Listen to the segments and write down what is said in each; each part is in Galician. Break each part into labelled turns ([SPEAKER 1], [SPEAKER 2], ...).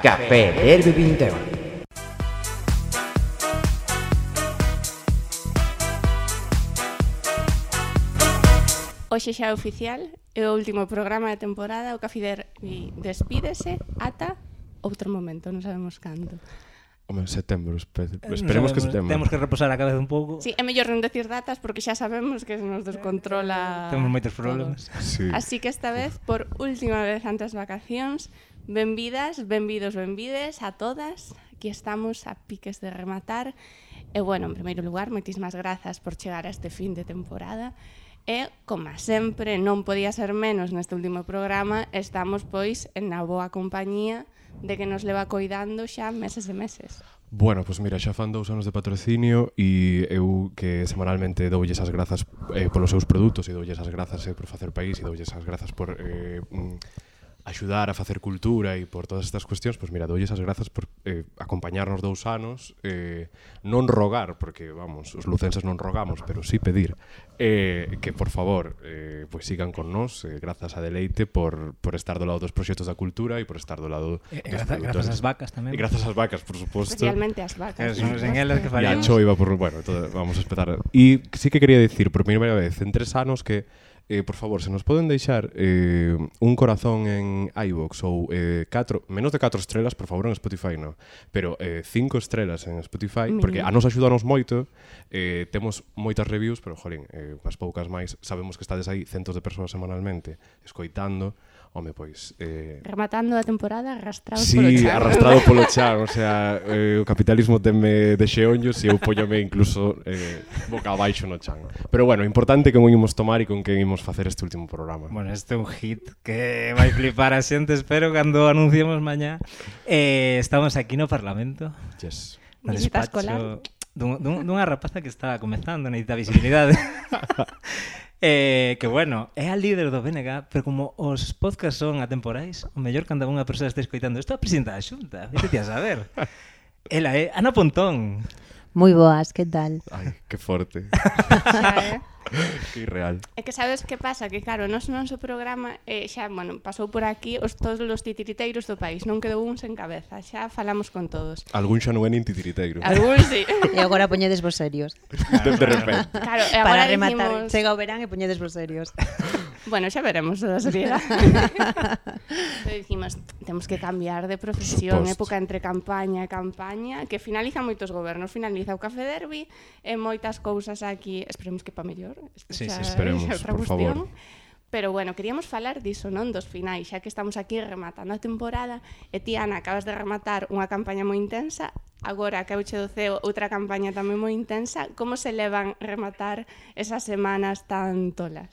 [SPEAKER 1] Café Derby 21.
[SPEAKER 2] Hoxe xa é oficial, é o último programa da temporada, o Cafider e despídese ata outro momento, non sabemos canto.
[SPEAKER 3] Home, setembro, espe- Pues esperemos que setembro.
[SPEAKER 4] Temos que reposar a cabeza un pouco.
[SPEAKER 2] Sí, é mellor non decir datas porque xa sabemos que se nos descontrola
[SPEAKER 4] Temos moitos problemas.
[SPEAKER 2] todo.
[SPEAKER 3] Sí.
[SPEAKER 2] Así que esta vez, por última vez antes das vacacións, benvidas, benvidos, benvides a todas. Aquí estamos a piques de rematar. E bueno, en primeiro lugar, moitísimas grazas por chegar a este fin de temporada. E, como a sempre, non podía ser menos neste último programa, estamos pois en na boa compañía de que nos leva coidando xa meses e meses.
[SPEAKER 3] Bueno, pois pues mira, xa fan dous anos de patrocinio e eu que semanalmente doulle esas grazas eh, polos seus produtos e doulle esas grazas eh, por facer país e doulle esas grazas por eh, mm, axudar a facer cultura e por todas estas cuestións, pois pues mira, doulle esas grazas por eh, acompañarnos dous anos, eh, non rogar, porque vamos, os lucenses non rogamos, pero sí pedir eh, que por favor eh, pois sigan con nós, eh, grazas a Deleite por, por estar do lado dos proxectos da cultura e por estar do lado
[SPEAKER 4] E- e
[SPEAKER 3] dos
[SPEAKER 4] graza-
[SPEAKER 3] produtores.
[SPEAKER 4] grazas ás vacas tamén.
[SPEAKER 3] E grazas ás vacas, por suposto.
[SPEAKER 2] Especialmente as vacas.
[SPEAKER 4] Que son sen elas
[SPEAKER 3] Y a
[SPEAKER 4] que faríamos.
[SPEAKER 3] Cho iba por... Bueno, entonces vamos a esperar. Y sí que quería decir, por primera vez en tres anos, que, eh, por favor, se nos poden deixar eh, un corazón en iVoox ou eh, catro, menos de 4 estrelas, por favor, en Spotify no, pero eh, cinco estrelas en Spotify,
[SPEAKER 2] Mínimo.
[SPEAKER 3] porque a nos axudanos moito, eh, temos moitas reviews, pero, jolín, eh, unhas poucas máis, sabemos que estades aí centos de persoas semanalmente, escoitando, home, pois... Eh,
[SPEAKER 2] Rematando a temporada, arrastrados polo
[SPEAKER 3] Sí,
[SPEAKER 2] chan.
[SPEAKER 3] arrastrado polo chan, o sea, eh, o capitalismo teme de xeonllos e eu póñome incluso eh, boca abaixo no chan. Pero bueno, o importante é que imos tomar e con que imos facer este último programa.
[SPEAKER 4] Bueno, este é un hit que vai flipar a xente, espero, cando anunciemos mañá. Eh, estamos aquí no Parlamento,
[SPEAKER 3] Yes.
[SPEAKER 4] no
[SPEAKER 2] Visita escolar.
[SPEAKER 4] despacho dun, dun, dunha rapaza que está comezando, necesita visibilidade. eh, que bueno, é a líder do BNG, pero como os podcast son atemporais, o mellor cando unha persoa este escoitando, isto é a presidenta da xunta, vete ti a saber. Ela é Ana Pontón.
[SPEAKER 5] Moi boas, que tal?
[SPEAKER 3] Ai, que forte,
[SPEAKER 2] Xa, eh?
[SPEAKER 3] que irreal.
[SPEAKER 2] É que sabes que pasa? Que claro, nos noso programa eh, xa, bueno, pasou por aquí os todos os titiriteiros do país, non quedou un sen cabeza, xa falamos con todos.
[SPEAKER 3] Algún xa non é nin titiriteiro.
[SPEAKER 2] Algún sí.
[SPEAKER 5] E agora poñedes vos serios.
[SPEAKER 3] De, de repente.
[SPEAKER 2] Claro, e agora
[SPEAKER 5] Para rematar,
[SPEAKER 2] dicimos...
[SPEAKER 5] chega o verán e poñedes vos serios.
[SPEAKER 2] Bueno, xa veremos a seriedade. Pero dicimos, temos que cambiar de profesión,
[SPEAKER 3] Suposto.
[SPEAKER 2] época entre campaña e campaña, que finaliza moitos gobernos, finaliza o Café Derby, e moitas cousas aquí, esperemos que pa mellor. isto
[SPEAKER 4] Sí,
[SPEAKER 2] xa-
[SPEAKER 4] sí,
[SPEAKER 3] esperemos,
[SPEAKER 2] xa é outra
[SPEAKER 3] por favor.
[SPEAKER 2] Pero bueno, queríamos falar diso, non? Dos finais, xa que estamos aquí rematando a temporada e ti, Ana, acabas de rematar unha campaña moi intensa agora que eu che do CEO outra campaña tamén moi intensa como se levan rematar esas semanas tan tolas?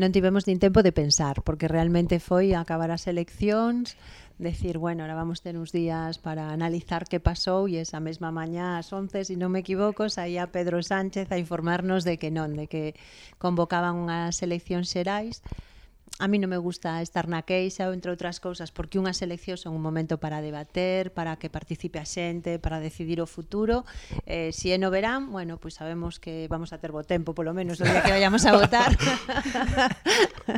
[SPEAKER 5] Non tivemos nin tempo de pensar, porque realmente foi acabar as eleccións, decir, bueno, ahora vamos ter uns días para analizar que pasou e esa mesma mañá ás 11, se non me equivoco, saía Pedro Sánchez a informarnos de que non, de que convocaban unhas eleccións xerais A mí non me gusta estar na queixa, entre outras cousas, porque unhas eleccións son un momento para debater, para que participe a xente, para decidir o futuro. Eh, si é no verán, bueno, pois sabemos que vamos a ter bo tempo, polo menos, o día que vayamos a votar.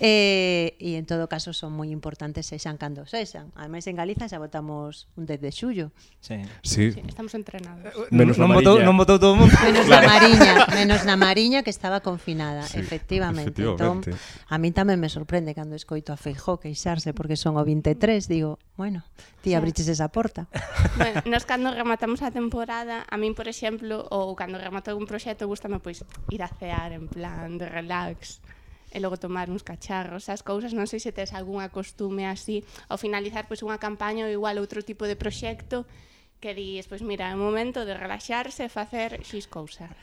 [SPEAKER 5] eh, e en todo caso son moi importantes sexan cando sexan. Ademais en Galiza xa votamos un 10 de xullo.
[SPEAKER 4] Sí.
[SPEAKER 3] Sí,
[SPEAKER 2] Sí, estamos entrenados.
[SPEAKER 3] Menos
[SPEAKER 4] non,
[SPEAKER 3] na
[SPEAKER 4] votou,
[SPEAKER 3] Mariña.
[SPEAKER 4] non votou todo o mundo.
[SPEAKER 5] Menos claro. na Mariña, menos na Mariña que estaba confinada,
[SPEAKER 3] Sí,
[SPEAKER 5] sí, efectivamente.
[SPEAKER 3] efectivamente.
[SPEAKER 5] efectivamente. Entón, a min tamén me sorprende cando escoito a Feijó queixarse porque son o 23, digo, bueno, ti abriches esa porta.
[SPEAKER 2] bueno, nos cando rematamos a temporada, a min, por exemplo, ou cando remato un proxecto, gustame pois ir a cear en plan de relax e logo tomar uns cacharros, as cousas, non sei se tes algunha costume así, ao finalizar pois unha campaña ou igual outro tipo de proxecto, que dis, pois mira, é o momento de relaxarse e facer xis cousa.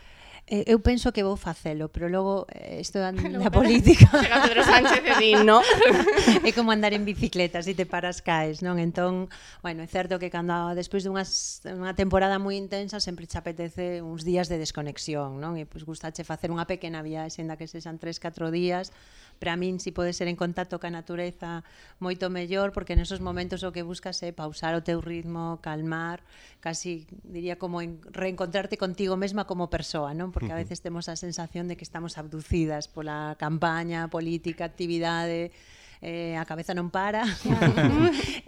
[SPEAKER 5] Eh, Eu penso que vou facelo, pero logo eh, isto da, da
[SPEAKER 2] Logo,
[SPEAKER 5] política
[SPEAKER 2] Chega Pedro Sánchez e di, no.
[SPEAKER 5] é como andar en bicicleta, se te paras caes, non? Entón, bueno, é certo que cando despois dunhas unha temporada moi intensa sempre che apetece uns días de desconexión, non? E pois gustache facer unha pequena viaxe, enda que sexan 3, 4 días. Para min si podes ser en contacto ca natureza moito mellor porque nesos momentos o que buscas é pausar o teu ritmo, calmar, casi diría como en- reencontrarte contigo mesma como persoa, non? Porque a veces temos a sensación de que estamos abducidas pola campaña, política, actividade, eh, a cabeza non para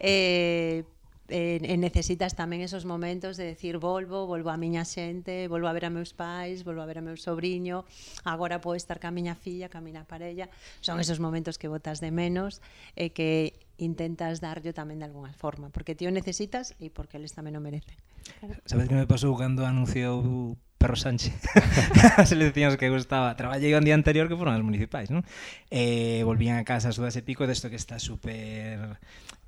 [SPEAKER 5] eh, eh, e necesitas tamén esos momentos de decir volvo, volvo a miña xente, volvo a ver a meus pais, volvo a ver a meu sobrinho, agora podo estar ca miña filla, ca miña parella. Son esos momentos que botas de menos e que intentas dar yo tamén de alguna forma, porque ti o necesitas e porque eles tamén o merecen.
[SPEAKER 4] Sabes que me pasou cando anunciou Perro Sánchez as eleccións que gustaba traballei o día anterior que foron as municipais non? e Eh, volvían a casa as dúas e pico desto que está super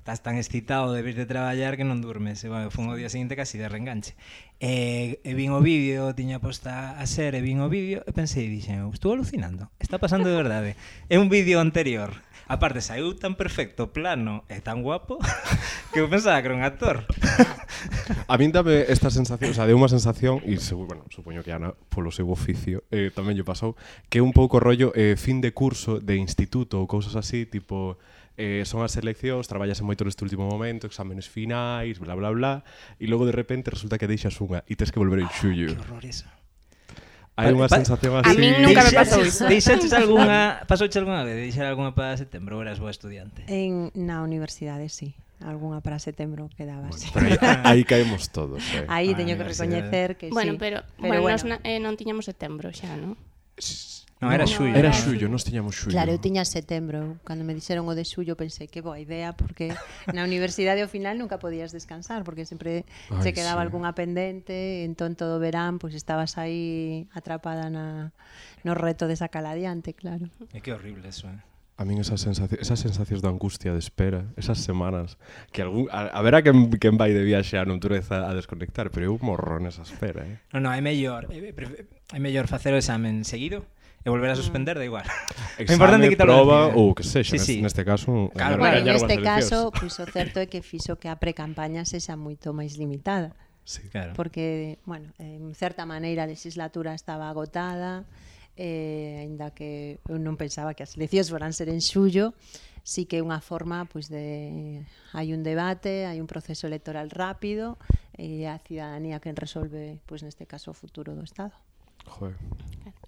[SPEAKER 4] estás tan excitado de vir de traballar que non durmes e bueno, fun o día seguinte casi de reenganche Eh, e, e vin o vídeo tiña posta a ser e vin o vídeo e pensei dixen, estou alucinando está pasando de verdade é un vídeo anterior aparte saiu tan perfecto plano e tan guapo que eu pensaba que era un actor
[SPEAKER 3] A min dame esta sensación, o sea, deu unha sensación e seguro, bueno, supoño que Ana polo seu oficio eh, tamén lle pasou que é un pouco rollo eh, fin de curso de instituto ou cousas así, tipo eh, son as eleccións, traballas moito neste último momento, exámenes finais, bla bla bla, e logo de repente resulta que deixas unha e tes que volver en xullo.
[SPEAKER 4] que horror eso
[SPEAKER 3] Hai unha
[SPEAKER 4] pa-
[SPEAKER 3] sensación
[SPEAKER 2] A
[SPEAKER 3] así.
[SPEAKER 2] min nunca me pasou
[SPEAKER 4] Deixaches-
[SPEAKER 2] iso.
[SPEAKER 4] Deixaches algunha, pasouche algunha vez, deixar algunha para setembro, ou eras boa estudiante.
[SPEAKER 5] En na universidade sí, algunha para setembro quedabas.
[SPEAKER 3] Pero aí, aí caemos todos, eh.
[SPEAKER 4] Ah,
[SPEAKER 5] Aí teño que
[SPEAKER 4] universidade.
[SPEAKER 5] recoñecer que
[SPEAKER 2] Bueno,
[SPEAKER 5] sí.
[SPEAKER 2] pero, bueno, nos na- eh, non tiñamos setembro xa, non?
[SPEAKER 4] No, era
[SPEAKER 2] No.
[SPEAKER 4] xullo.
[SPEAKER 3] Era xullo, nos tiñamos xullo.
[SPEAKER 5] Claro, eu tiña setembro, eu, cando me dixeron o de xullo pensei que boa idea porque na universidade ao final nunca podías descansar porque sempre
[SPEAKER 3] Ai,
[SPEAKER 5] se quedaba
[SPEAKER 3] sí.
[SPEAKER 5] algunha pendente, entón todo o verán pois estabas aí atrapada na no reto de sacala adiante, claro.
[SPEAKER 4] É que horrible eso, eh.
[SPEAKER 3] A min esas, sensaci esas sensacións de angustia, de espera, esas semanas, que algún, a, a ver a quen, quen vai de viaxe a natureza a desconectar, pero eu morro nesa espera, eh.
[SPEAKER 4] No, no, eh, é mellor, é, é pref- é mellor facer o examen seguido e volver a suspender, da igual. É importante
[SPEAKER 3] Exame,
[SPEAKER 4] quitarlo
[SPEAKER 3] proba
[SPEAKER 4] encima.
[SPEAKER 3] ou que sexa,
[SPEAKER 4] Sí,
[SPEAKER 3] nes-
[SPEAKER 4] sí.
[SPEAKER 3] neste caso... un- gañar-
[SPEAKER 4] Claro,
[SPEAKER 5] Bueno,
[SPEAKER 4] Bueno,
[SPEAKER 5] en
[SPEAKER 3] gañar
[SPEAKER 5] este
[SPEAKER 3] unhas eleccións.
[SPEAKER 5] caso, pois o certo é que fixo que a precampaña sexa moito máis limitada.
[SPEAKER 3] Sí.
[SPEAKER 4] Claro.
[SPEAKER 5] porque, bueno, en certa maneira a legislatura estaba agotada, eh, aínda que eu non pensaba que as eleccións foran ser en xullo, sí que é unha forma pois de hai un debate, hai un proceso electoral rápido e a cidadanía que resolve pois neste caso o futuro do Estado.
[SPEAKER 3] Joder.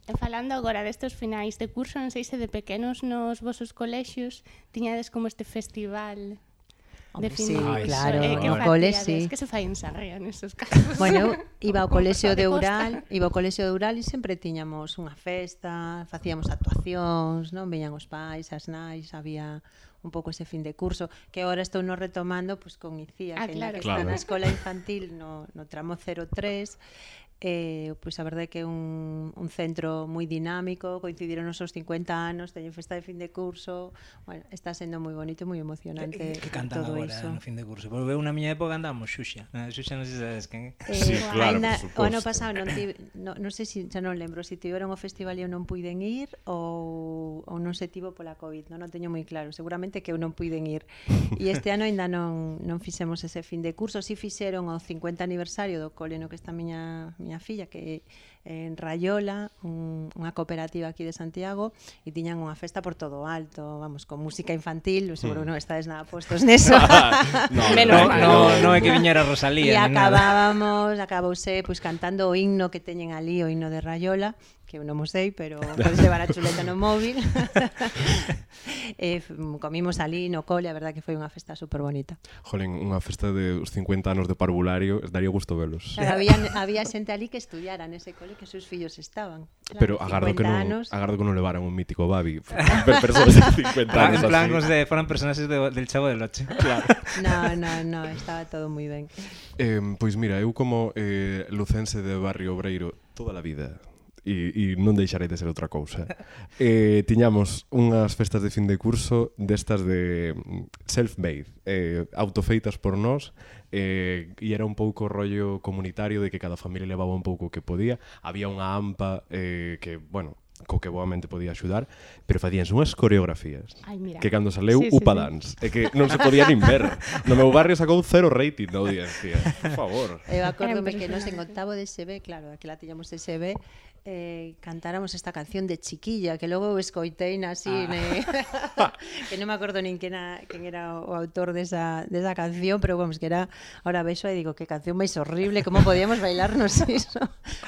[SPEAKER 2] E falando agora destes finais de curso, non sei se de pequenos nos vosos colexios tiñades como este festival
[SPEAKER 5] Hombre,
[SPEAKER 2] de
[SPEAKER 5] sí,
[SPEAKER 2] fin
[SPEAKER 4] Ai,
[SPEAKER 5] claro,
[SPEAKER 4] sí,
[SPEAKER 2] eh, que
[SPEAKER 5] no
[SPEAKER 2] facíades,
[SPEAKER 5] cole sí.
[SPEAKER 2] que se fai en Sarria nestes casos.
[SPEAKER 5] Bueno, eu iba ao
[SPEAKER 2] Como
[SPEAKER 5] colexio
[SPEAKER 2] pasar de
[SPEAKER 5] de
[SPEAKER 2] costa.
[SPEAKER 5] Ural, iba ao colexio de Ural e sempre tiñamos unha festa, facíamos actuacións, non veñan os pais, as nais, había un pouco ese fin de curso, que agora estou no retomando pois con ICIA,
[SPEAKER 2] Ah,
[SPEAKER 5] que, na
[SPEAKER 2] claro.
[SPEAKER 5] que está
[SPEAKER 3] Claro.
[SPEAKER 5] na escola infantil no, no tramo 03, Eh, pois a verdade que é un, un centro moi dinámico, coincidiron os seus 50 anos, teñen festa de fin de curso, bueno, está sendo moi bonito e moi emocionante
[SPEAKER 4] Que, que Eh, cantan
[SPEAKER 5] todo
[SPEAKER 4] agora
[SPEAKER 5] iso.
[SPEAKER 4] no fin de curso. Porque eu na miña época andamos Xuxa. Na Xuxa non sei se sabes quen é.
[SPEAKER 5] Eh,
[SPEAKER 3] Sí, claro,
[SPEAKER 5] ainda,
[SPEAKER 3] por
[SPEAKER 5] o ano
[SPEAKER 3] suposto.
[SPEAKER 5] pasado non tive, no, non sei se xa non lembro se tiveron o festival e eu non puiden ir ou, ou non se tivo pola Covid, non, non teño moi claro, seguramente que eu non puiden ir. E este ano aínda non non fixemos ese fin de curso, si fixeron o 50 aniversario do cole no que está a miña miña filla que é en Rayola, un, unha cooperativa aquí de Santiago e tiñan unha festa por todo o alto, vamos, con música infantil, seguro
[SPEAKER 3] Hmm.
[SPEAKER 5] non estades nada postos neso.
[SPEAKER 2] Menos
[SPEAKER 4] No,
[SPEAKER 2] mal.
[SPEAKER 4] no, no é que viñera
[SPEAKER 5] E
[SPEAKER 4] Rosalía, nin nada.
[SPEAKER 5] acabábamos, acabouse pois cantando o himno que teñen ali, o himno de Rayola, que eu non mo sei, pero podes levar a chuleta no móvil. e f- comimos ali no cole, a verdade que foi unha festa super bonita.
[SPEAKER 3] Jolín, unha festa de os 50 anos de parvulario, daría gusto velos.
[SPEAKER 5] Claro, había, había xente ali que estudiara nese cole que os seus fillos estaban. Claro,
[SPEAKER 3] Pero agardo que non,
[SPEAKER 5] 50 anos.
[SPEAKER 3] agardo que non levaran un mítico Babi. Ver persoas de 50
[SPEAKER 4] Ra-
[SPEAKER 3] anos
[SPEAKER 4] En plan, os
[SPEAKER 3] así.
[SPEAKER 4] de, foran personaxes do, del Chavo del Ocho.
[SPEAKER 3] Claro.
[SPEAKER 5] No, no, no, estaba todo moi ben.
[SPEAKER 3] Eh, pois mira, eu como eh, lucense de barrio obreiro toda a vida e, e non deixarei de ser outra cousa eh, tiñamos unhas festas de fin de curso destas de mm, self-made eh, autofeitas por nós eh, e era un pouco rollo comunitario de que cada familia levaba un pouco o que podía había unha ampa eh, que, bueno, co que boamente podía axudar pero facíanse unhas coreografías
[SPEAKER 2] Ai, mira.
[SPEAKER 3] que cando
[SPEAKER 2] Sí,
[SPEAKER 3] saleu
[SPEAKER 2] sí,
[SPEAKER 3] Upa
[SPEAKER 2] sí.
[SPEAKER 3] Dance é que non se podía nin ver no meu barrio sacou cero rating da audiencia por favor
[SPEAKER 5] Eu
[SPEAKER 2] Era
[SPEAKER 5] acórdome Eh, que nos en
[SPEAKER 2] impresionante.
[SPEAKER 5] octavo de SB, claro, aquí la tiñamos SB, eh, cantáramos esta canción de chiquilla, que luego escoiteina así,
[SPEAKER 4] Ah.
[SPEAKER 5] ne- que no me acuerdo ni quién era, quién era o autor de esa, de esa canción, pero vamos, que era, ahora beso y digo, qué canción más horrible, cómo podíamos bailarnos eso.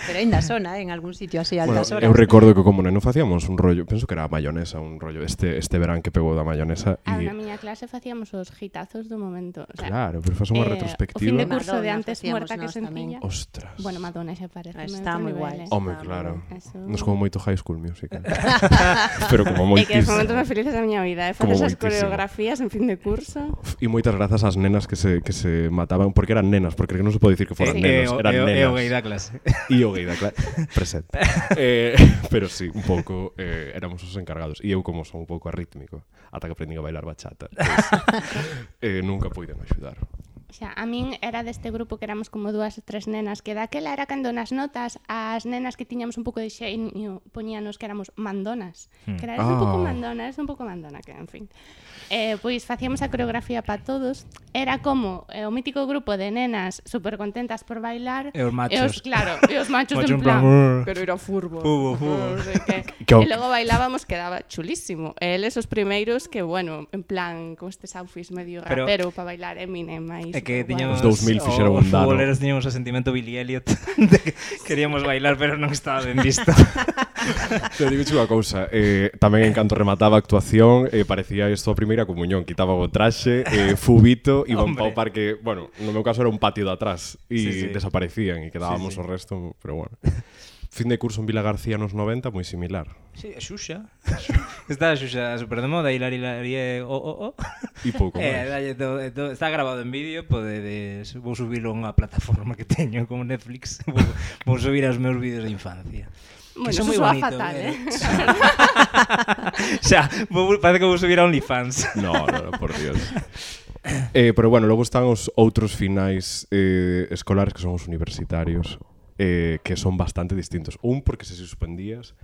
[SPEAKER 5] Pero ainda sona, eh, en algún sitio así a
[SPEAKER 3] Bueno, eu
[SPEAKER 5] altas horas.
[SPEAKER 3] recordo que como neno facíamos un rollo, penso que era a maionesa, un rollo este este verán que pegou da maionesa
[SPEAKER 2] Ah, na
[SPEAKER 3] e
[SPEAKER 2] miña clase facíamos os hitazos do momento. O sea,
[SPEAKER 3] claro, pero faz
[SPEAKER 2] eh, O
[SPEAKER 3] unha
[SPEAKER 2] fin
[SPEAKER 3] retrospectiva.
[SPEAKER 2] de curso de
[SPEAKER 5] Madonna
[SPEAKER 2] antes
[SPEAKER 5] facíamos
[SPEAKER 2] muerta que
[SPEAKER 5] nós tamén. Ah,
[SPEAKER 2] sencilla.
[SPEAKER 3] Ostras.
[SPEAKER 2] Bueno, Madonna xa parece.
[SPEAKER 5] Está moi guai.
[SPEAKER 3] Home,
[SPEAKER 5] Ah,
[SPEAKER 3] claro.
[SPEAKER 2] eso-
[SPEAKER 3] Nos como moito High School Musical. pero como
[SPEAKER 2] É que os
[SPEAKER 3] moitísimo.
[SPEAKER 2] momentos máis felices da miña vida, eh?
[SPEAKER 3] Como
[SPEAKER 2] Facer esas
[SPEAKER 3] moitísimo.
[SPEAKER 2] coreografías en fin de curso.
[SPEAKER 3] E moitas grazas ás nenas que se, que se mataban, porque eran nenas, porque non se pode dicir que foran
[SPEAKER 4] Eh,
[SPEAKER 3] nenas,
[SPEAKER 4] eh, o-
[SPEAKER 3] eran
[SPEAKER 4] eh, o- eh,
[SPEAKER 3] nenas.
[SPEAKER 4] o gay da clase.
[SPEAKER 3] E o Gueida, claro, presente. eh, pero sí, un pouco eh, éramos os encargados. E eu como son un pouco arrítmico, ata que aprendín a bailar bachata. Pois, eh, nunca puiden axudar.
[SPEAKER 2] Xa, a min era deste grupo que éramos como dúas tres nenas, que daquela era cando nas notas as nenas que tiñamos un pouco de xeño poñíanos que éramos mandonas. Hmm. Que era "Eres un pouco
[SPEAKER 3] Ah.
[SPEAKER 2] mandona, es un pouco mandona, que en fin. Eh, pois facíamos a coreografía para todos. Era como eh, o mítico grupo de nenas super contentas por bailar.
[SPEAKER 4] E os machos.
[SPEAKER 2] E os, claro, e os machos
[SPEAKER 4] Macho
[SPEAKER 2] en
[SPEAKER 4] en
[SPEAKER 2] plan...
[SPEAKER 4] plan, "Urr".
[SPEAKER 2] Pero era furbo.
[SPEAKER 4] Furbo, furbo.
[SPEAKER 2] non sei que.
[SPEAKER 3] Que
[SPEAKER 2] E
[SPEAKER 3] o-
[SPEAKER 2] logo bailábamos, quedaba chulísimo. E eles os primeiros que, bueno, en plan, con estes outfits medio
[SPEAKER 4] Pero-
[SPEAKER 2] rapero para bailar Eminem. aí
[SPEAKER 4] É
[SPEAKER 2] superguai.
[SPEAKER 4] que tiñamos
[SPEAKER 3] Os 2000 fixeron
[SPEAKER 4] os
[SPEAKER 3] un dano.
[SPEAKER 4] futboleros tiñamos o sentimento Billy Elliot de que queríamos bailar pero non estaba ben visto.
[SPEAKER 3] Te digo unha cousa, eh, tamén en canto remataba a actuación, eh, parecía isto a primeira comunión, quitaba o traxe, eh, fubito, iban ao
[SPEAKER 4] Hombre.
[SPEAKER 3] parque, bueno, no meu caso era un patio de atrás,
[SPEAKER 4] Sí, sí.
[SPEAKER 3] e sí, sí. desaparecían, e quedábamos
[SPEAKER 4] Sí,
[SPEAKER 3] sí, sí.
[SPEAKER 4] sí.
[SPEAKER 3] o resto, pero bueno. Fin de curso en Vila García nos 90, moi similar.
[SPEAKER 4] Sí, a Xuxa. Está a Xuxa super de moda, Hilari Hilari e o o o.
[SPEAKER 3] E pouco máis.
[SPEAKER 4] Eh, dalle todo, eh, todo, está grabado en vídeo, podedes vou subirlo a unha plataforma que teño como Netflix, vou, vou subir os meus vídeos de infancia.
[SPEAKER 2] Bueno,
[SPEAKER 4] que son
[SPEAKER 2] eso
[SPEAKER 4] moi
[SPEAKER 2] soa
[SPEAKER 4] bonitos,
[SPEAKER 2] fatal, eh?
[SPEAKER 4] Xa, vou, parece que vou subir a OnlyFans.
[SPEAKER 3] No, no, no, por Dios. Eh, pero bueno, logo están os outros finais eh, escolares que son os universitarios eh, que son bastante distintos. Un porque se suspendías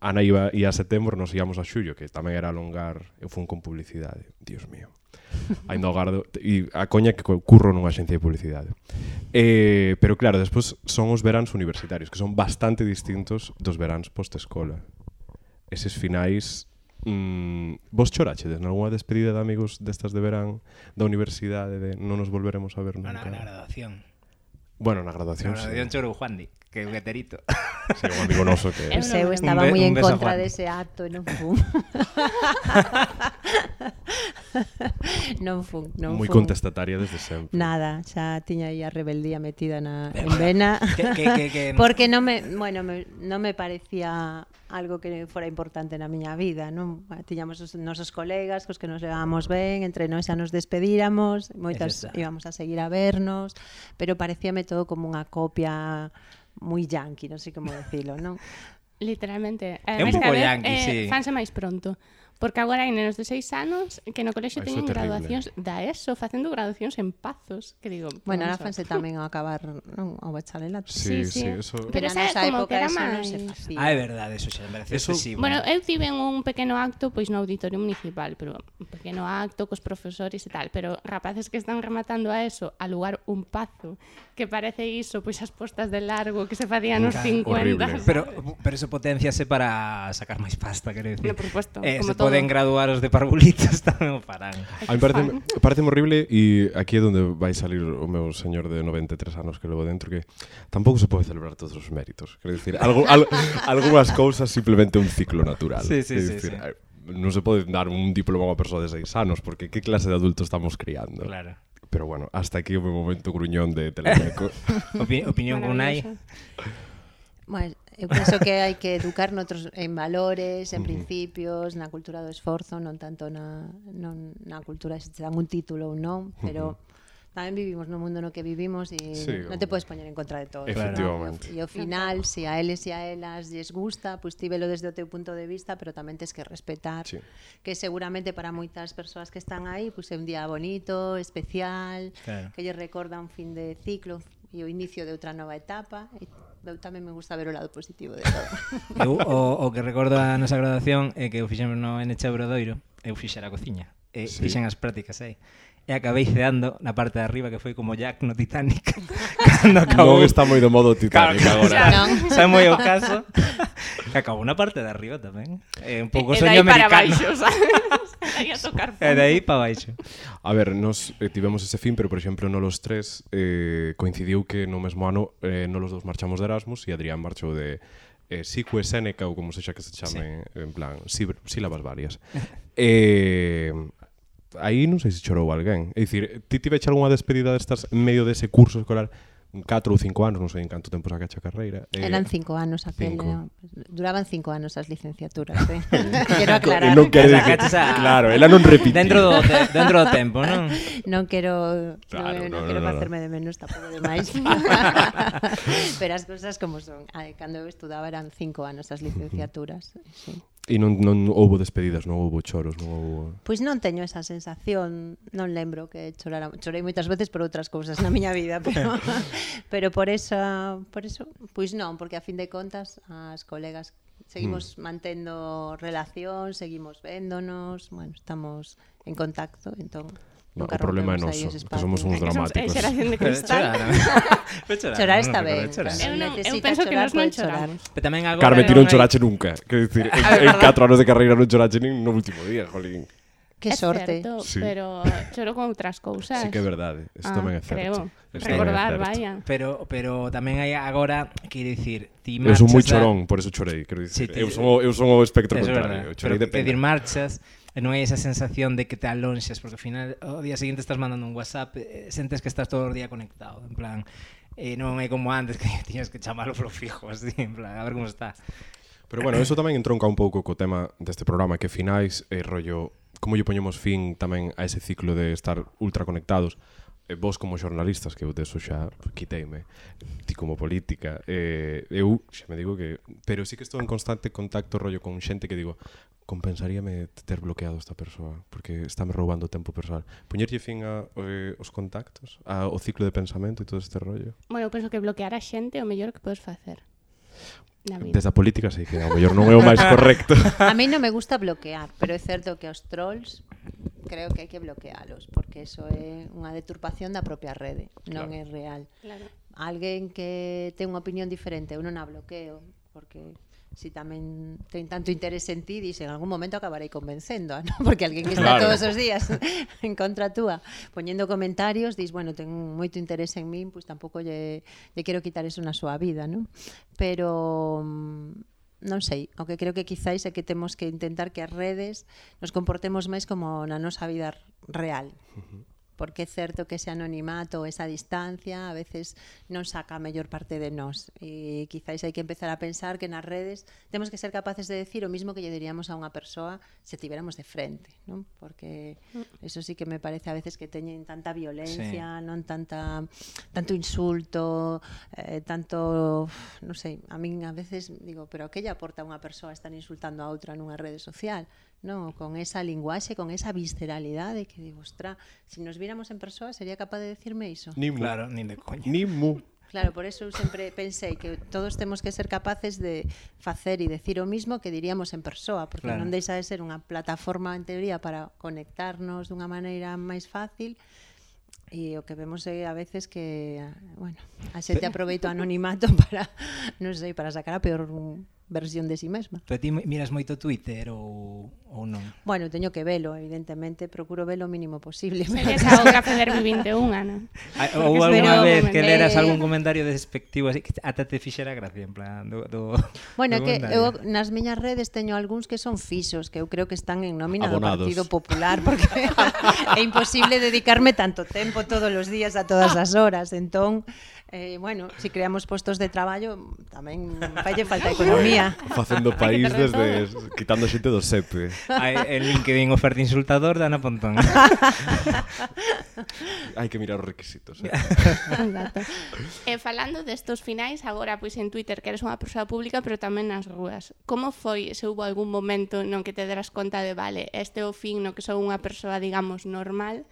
[SPEAKER 3] Ana iba ia a setembro, nos íamos a xullo, que tamén era alongar, eu fun con publicidade. Dios mío. Ainda o gardo e a coña que co- curro nunha axencia de publicidade. Eh, pero claro, despois son os veráns universitarios, que son bastante distintos dos veráns post-escola. Eses finais mm, vos chorachedes nalgúna despedida de amigos destas de verán da universidade de non nos volveremos a ver
[SPEAKER 4] Na, na,
[SPEAKER 3] nunca.
[SPEAKER 4] na graduación.
[SPEAKER 3] Bueno, na
[SPEAKER 4] Na
[SPEAKER 3] graduación. sí.
[SPEAKER 4] graduación chorou Juandi, que é o gaterito.
[SPEAKER 3] Sí, un amigo noso que
[SPEAKER 5] Pois eu
[SPEAKER 2] Un
[SPEAKER 5] estaba
[SPEAKER 4] be-
[SPEAKER 5] moi
[SPEAKER 4] un
[SPEAKER 5] en
[SPEAKER 4] beso a
[SPEAKER 5] contra
[SPEAKER 4] Juan.
[SPEAKER 5] dese acto e non fun. non fun, non
[SPEAKER 3] moi
[SPEAKER 5] fun.
[SPEAKER 3] contestataria desde sempre.
[SPEAKER 5] Nada, xa tiña aí a rebeldía metida na en vena.
[SPEAKER 4] Que, que, que, que,
[SPEAKER 5] Porque non me, bueno, me, non me parecía algo que fora importante na miña vida, non? Tiñamos os nosos colegas cos que nos levábamos ben, entre nós xa nos despedíramos, moitas
[SPEAKER 4] está.
[SPEAKER 5] íbamos a seguir a vernos, pero parecíame todo como unha copia moi yankee, non sei como decirlo, non?
[SPEAKER 2] Literalmente. Eh,
[SPEAKER 4] É un
[SPEAKER 2] Ademais,
[SPEAKER 4] pouco
[SPEAKER 2] cada vez,
[SPEAKER 4] yankee, sí.
[SPEAKER 2] Fanse máis eh, pronto. Porque agora hai nenos de seis anos que no colexio
[SPEAKER 3] Ah, iso
[SPEAKER 2] teñen
[SPEAKER 3] é terrible.
[SPEAKER 2] graduacións da ESO, facendo graduacións en pazos, que digo...
[SPEAKER 5] Bueno,
[SPEAKER 2] vamos a
[SPEAKER 5] ahora
[SPEAKER 2] ver.
[SPEAKER 5] fanse tamén ao acabar non? ao bacharelato.
[SPEAKER 3] Sí, sí, eso.
[SPEAKER 2] Pero
[SPEAKER 5] na
[SPEAKER 2] esa
[SPEAKER 5] nosa
[SPEAKER 2] como que era
[SPEAKER 5] eso non se
[SPEAKER 2] máis-
[SPEAKER 5] facía.
[SPEAKER 4] Ah, é verdade, eso xa, me parece
[SPEAKER 3] Eso-
[SPEAKER 4] excesivo.
[SPEAKER 2] Bueno, eh, eu tiven un pequeno acto pois no auditorio municipal, pero un pequeno acto cos profesores e tal, pero rapaces que están rematando a eso, a lugar un pazo, que parece iso, pois as postas de largo que se facían nos
[SPEAKER 4] Claro,
[SPEAKER 2] 50.
[SPEAKER 3] horrible.
[SPEAKER 4] Pero, pero eso potenciase para sacar máis pasta, quero dicir.
[SPEAKER 2] No, por supuesto,
[SPEAKER 4] Eh,
[SPEAKER 2] como
[SPEAKER 4] se
[SPEAKER 2] todo.
[SPEAKER 4] poden graduar os de parvulitos tamén o farán.
[SPEAKER 3] A mí parece, parece horrible e aquí é donde vai salir o meu señor de 93 anos que levo dentro que tampouco se pode celebrar todos os méritos. Quero dicir, algo, al, algunhas cousas simplemente un ciclo natural.
[SPEAKER 4] Sí, sí,
[SPEAKER 3] Quero
[SPEAKER 4] sí,
[SPEAKER 3] dicir,
[SPEAKER 4] sí.
[SPEAKER 3] eh, Non se pode dar un diploma a unha persoa de 6 anos porque que clase de adulto estamos criando.
[SPEAKER 4] Claro.
[SPEAKER 3] Pero bueno, hasta aquí o meu momento gruñón de Telemeco.
[SPEAKER 4] Opi opinión con Unai.
[SPEAKER 2] Maravilloso.
[SPEAKER 5] Bueno, eu penso que hai que educar noutros en valores, en principios, na cultura do esforzo, non tanto na non na cultura se te dan un título ou non, pero tamén vivimos no mundo no que vivimos e
[SPEAKER 3] Sí,
[SPEAKER 5] non
[SPEAKER 3] hombre.
[SPEAKER 5] te podes poñer en contra de todo.
[SPEAKER 3] Efectivamente.
[SPEAKER 5] E ao final, se a eles e a elas lles gusta, pois tíbelo desde o teu punto de vista, pero tamén tens que respetar
[SPEAKER 3] Sí.
[SPEAKER 5] que seguramente para moitas persoas que están aí, pois é un día bonito, especial,
[SPEAKER 4] Claro.
[SPEAKER 5] que lle recorda un fin de ciclo e o inicio de outra nova etapa e eu tamén me gusta ver o lado positivo de todo.
[SPEAKER 4] Eu, o, o que recordo a nosa graduación é que eu fixemos no NH Obradoiro, eu fixera a cociña, e
[SPEAKER 3] Sí.
[SPEAKER 4] fixen as prácticas aí. E acabei ceando na parte de arriba que foi como Jack no Titanic. cando acabou.
[SPEAKER 3] Non está moi do modo Titanic
[SPEAKER 4] Claro,
[SPEAKER 3] agora.
[SPEAKER 5] Xa non.
[SPEAKER 4] Sabe moi o caso. Que acabou na parte de arriba tamén. É un pouco
[SPEAKER 2] E daí eh,
[SPEAKER 4] soño
[SPEAKER 2] para
[SPEAKER 4] americano.
[SPEAKER 2] baixo, sabes? Aí a tocar
[SPEAKER 4] E
[SPEAKER 2] fondo.
[SPEAKER 4] de aí para baixo.
[SPEAKER 3] A ver, nos eh, tivemos ese fin, pero por exemplo, no los tres eh, coincidiu que no mesmo ano eh, no los dos marchamos de Erasmus e Adrián marchou de eh, Sicue Seneca ou como sexa que se chame, sí. en plan, síbr- sílabas varias. eh, aí non sei se chorou alguén. É dicir, ti tiveche algunha despedida destas en medio dese curso escolar 4 ou 5 anos, non sei en canto tempo sacache a carreira. eh,
[SPEAKER 5] Eran cinco anos aquel,
[SPEAKER 3] cinco.
[SPEAKER 5] no? duraban cinco anos as licenciaturas, eh?
[SPEAKER 3] E
[SPEAKER 5] Quero aclarar.
[SPEAKER 3] non quere dicir-
[SPEAKER 4] Sacaches a-
[SPEAKER 3] Claro, ela non repitiu.
[SPEAKER 4] Dentro do, te, dentro do tempo, non?
[SPEAKER 5] Non quero
[SPEAKER 3] Claro, no,
[SPEAKER 5] non, non
[SPEAKER 3] no,
[SPEAKER 5] quero
[SPEAKER 3] no, no.
[SPEAKER 5] facerme de menos tampouco de máis. Pero as cousas como son. A ver, Cando eu estudaba eran cinco anos as licenciaturas. Sí.
[SPEAKER 3] E non, non houbo despedidas, non houbo choros, non houbo...
[SPEAKER 5] Pois non teño esa sensación, non lembro que chorara, chorei moitas veces por outras cousas na miña vida, pero pero por esa, por eso, pois non, porque a fin de contas as colegas seguimos mm. mantendo relación, seguimos véndonos, bueno, estamos en contacto, entón
[SPEAKER 3] No, o
[SPEAKER 5] nunca
[SPEAKER 3] problema é
[SPEAKER 5] rompemos aí
[SPEAKER 3] noso,
[SPEAKER 5] ese
[SPEAKER 3] que somos
[SPEAKER 5] espacio.
[SPEAKER 3] uns
[SPEAKER 2] É
[SPEAKER 3] dramáticos.
[SPEAKER 2] xeración de
[SPEAKER 4] Pero
[SPEAKER 2] cristal.
[SPEAKER 4] choraron. Pero choraron,
[SPEAKER 5] Chorar
[SPEAKER 4] non
[SPEAKER 5] está
[SPEAKER 4] recordo,
[SPEAKER 5] ben.
[SPEAKER 4] choraron.
[SPEAKER 2] Eu non- eu
[SPEAKER 5] Necesitas
[SPEAKER 2] penso que
[SPEAKER 5] chorar,
[SPEAKER 2] nós non
[SPEAKER 5] podes chorar.
[SPEAKER 2] choramos.
[SPEAKER 4] Pero tamén agora...
[SPEAKER 3] Carmen, ti non
[SPEAKER 4] Pero-
[SPEAKER 3] chorache nunca. Quer dicir, en, en catro anos de carreira non chorache nin no último día, jolín.
[SPEAKER 5] Que
[SPEAKER 2] É
[SPEAKER 5] sorte.
[SPEAKER 2] certo,
[SPEAKER 3] Sí.
[SPEAKER 2] pero choro con outras cousas.
[SPEAKER 3] Sí que é verdade, isto
[SPEAKER 2] Ah,
[SPEAKER 3] tamén é
[SPEAKER 2] creo.
[SPEAKER 3] certo. Isto tamén é
[SPEAKER 2] Recordar,
[SPEAKER 3] certo.
[SPEAKER 2] vaya.
[SPEAKER 4] Pero, pero tamén hai agora, quero dicir, ti
[SPEAKER 3] Eu son moi
[SPEAKER 4] marchas da-
[SPEAKER 3] chorón, por eso chorei, quero
[SPEAKER 4] Sí,
[SPEAKER 3] dicir.
[SPEAKER 4] ti-
[SPEAKER 3] Eu son o, eu son o espectro
[SPEAKER 4] Eso é
[SPEAKER 3] contrario, eu
[SPEAKER 4] verdade.
[SPEAKER 3] chorei
[SPEAKER 4] Pero
[SPEAKER 3] de
[SPEAKER 4] que dir
[SPEAKER 3] pena.
[SPEAKER 4] marchas, e non hai esa sensación de que te alonxas, porque ao final o día seguinte estás mandando un WhatsApp, eh, sentes que estás todo o día conectado, en plan, eh, non é como antes que tiñas que chamalo pro fijo, así, en plan, a ver como está.
[SPEAKER 3] Pero bueno, eso tamén entronca un pouco co tema deste programa que finais e rollo como lle poñemos fin tamén a ese ciclo de estar ultra conectados. Eh, vos como xornalistas, que eu deso xa quiteime, ti como política, eh, eu xa me digo que... Pero sí que estou en constante contacto rollo con xente que digo compensaríame ter bloqueado esta persoa porque estáme roubando tempo personal. Poñerlle fin a, eh, os contactos, a, o ciclo de pensamento e todo este rollo.
[SPEAKER 2] Bueno, eu penso que bloquear a xente é o mellor que podes facer. Na vida.
[SPEAKER 3] Desde a política sei que ao mellor non é o máis correcto.
[SPEAKER 5] A mí non me gusta bloquear, pero é certo que os trolls creo que hai que bloquealos, porque eso é unha deturpación da propia rede, non
[SPEAKER 3] Claro.
[SPEAKER 5] é real.
[SPEAKER 2] Claro.
[SPEAKER 5] Alguén que ten unha opinión diferente, eu non a bloqueo, porque si tamén ten tanto interese en ti, dixe, en algún momento acabarei convencendo, ¿no? porque alguén que está
[SPEAKER 3] Claro.
[SPEAKER 5] todos os días en contra túa, poñendo comentarios, dis, bueno, ten moito interese en min, pois tampouco lle, lle quero quitar eso na súa vida, non? Pero mm, non sei, o que creo que quizáis é que temos que intentar que as redes nos comportemos máis como na nosa vida real, porque é certo que ese anonimato, esa distancia, a veces non saca a mellor parte de nós. E quizáis hai que empezar a pensar que nas redes temos que ser capaces de decir o mismo que lle diríamos a unha persoa se tivéramos de frente, non? Porque eso sí que me parece a veces que teñen tanta violencia, sí. non tanta tanto insulto, eh, tanto, uf, non sei, a min a veces digo, pero a que lle aporta unha persoa estar insultando a outra nunha rede social? No, con esa linguaxe, con esa visceralidade que digo, ostra, se si nos viéramos en persoa sería capaz de decirme iso.
[SPEAKER 3] Ni mu.
[SPEAKER 4] Claro, nin de coña.
[SPEAKER 3] Ni mu.
[SPEAKER 5] Claro, por eso eu sempre pensei que todos temos que ser capaces de facer e decir o mismo que diríamos en persoa, porque
[SPEAKER 4] Claro.
[SPEAKER 5] claro. non deixa de ser unha plataforma en teoría para conectarnos dunha maneira máis fácil e o que vemos é a veces que, ah, bueno, a xente aproveita o anonimato para, non sei, para sacar a peor versión de si sí mesma.
[SPEAKER 4] Pero ti mi- miras moito Twitter ou, ou non?
[SPEAKER 5] Bueno, teño que velo, evidentemente, procuro velo o mínimo posible.
[SPEAKER 2] Sería xa o café de 21, Ana.
[SPEAKER 4] A-
[SPEAKER 2] Porque
[SPEAKER 4] Ah, Ou
[SPEAKER 2] se non,
[SPEAKER 4] algunha vez que
[SPEAKER 2] eh,
[SPEAKER 4] leras algún comentario despectivo así que ata te fixera gracia, en plan, do, do
[SPEAKER 5] Bueno, é
[SPEAKER 4] do
[SPEAKER 5] que
[SPEAKER 4] comentario.
[SPEAKER 5] eu nas miñas redes teño algúns que son fixos, que eu creo que están en nómina
[SPEAKER 3] Abonados.
[SPEAKER 5] do Partido Popular, porque é imposible dedicarme tanto tempo todos os días a todas as horas. Entón, eh, bueno, se si creamos postos de traballo, tamén falle falta economía.
[SPEAKER 3] Facendo
[SPEAKER 2] Hai que
[SPEAKER 3] país
[SPEAKER 2] perder
[SPEAKER 3] desde quitando xente do sete.
[SPEAKER 4] Ai, en LinkedIn oferta insultador de Ana Pontón.
[SPEAKER 3] Hai que mirar os requisitos. Eh?
[SPEAKER 2] Exacto. E Eh, falando destos finais, agora pois en Twitter que eres unha persoa pública, pero tamén nas rúas. Como foi se houbo algún momento non que te deras conta de, vale, este é o fin no que sou unha persoa, digamos, normal,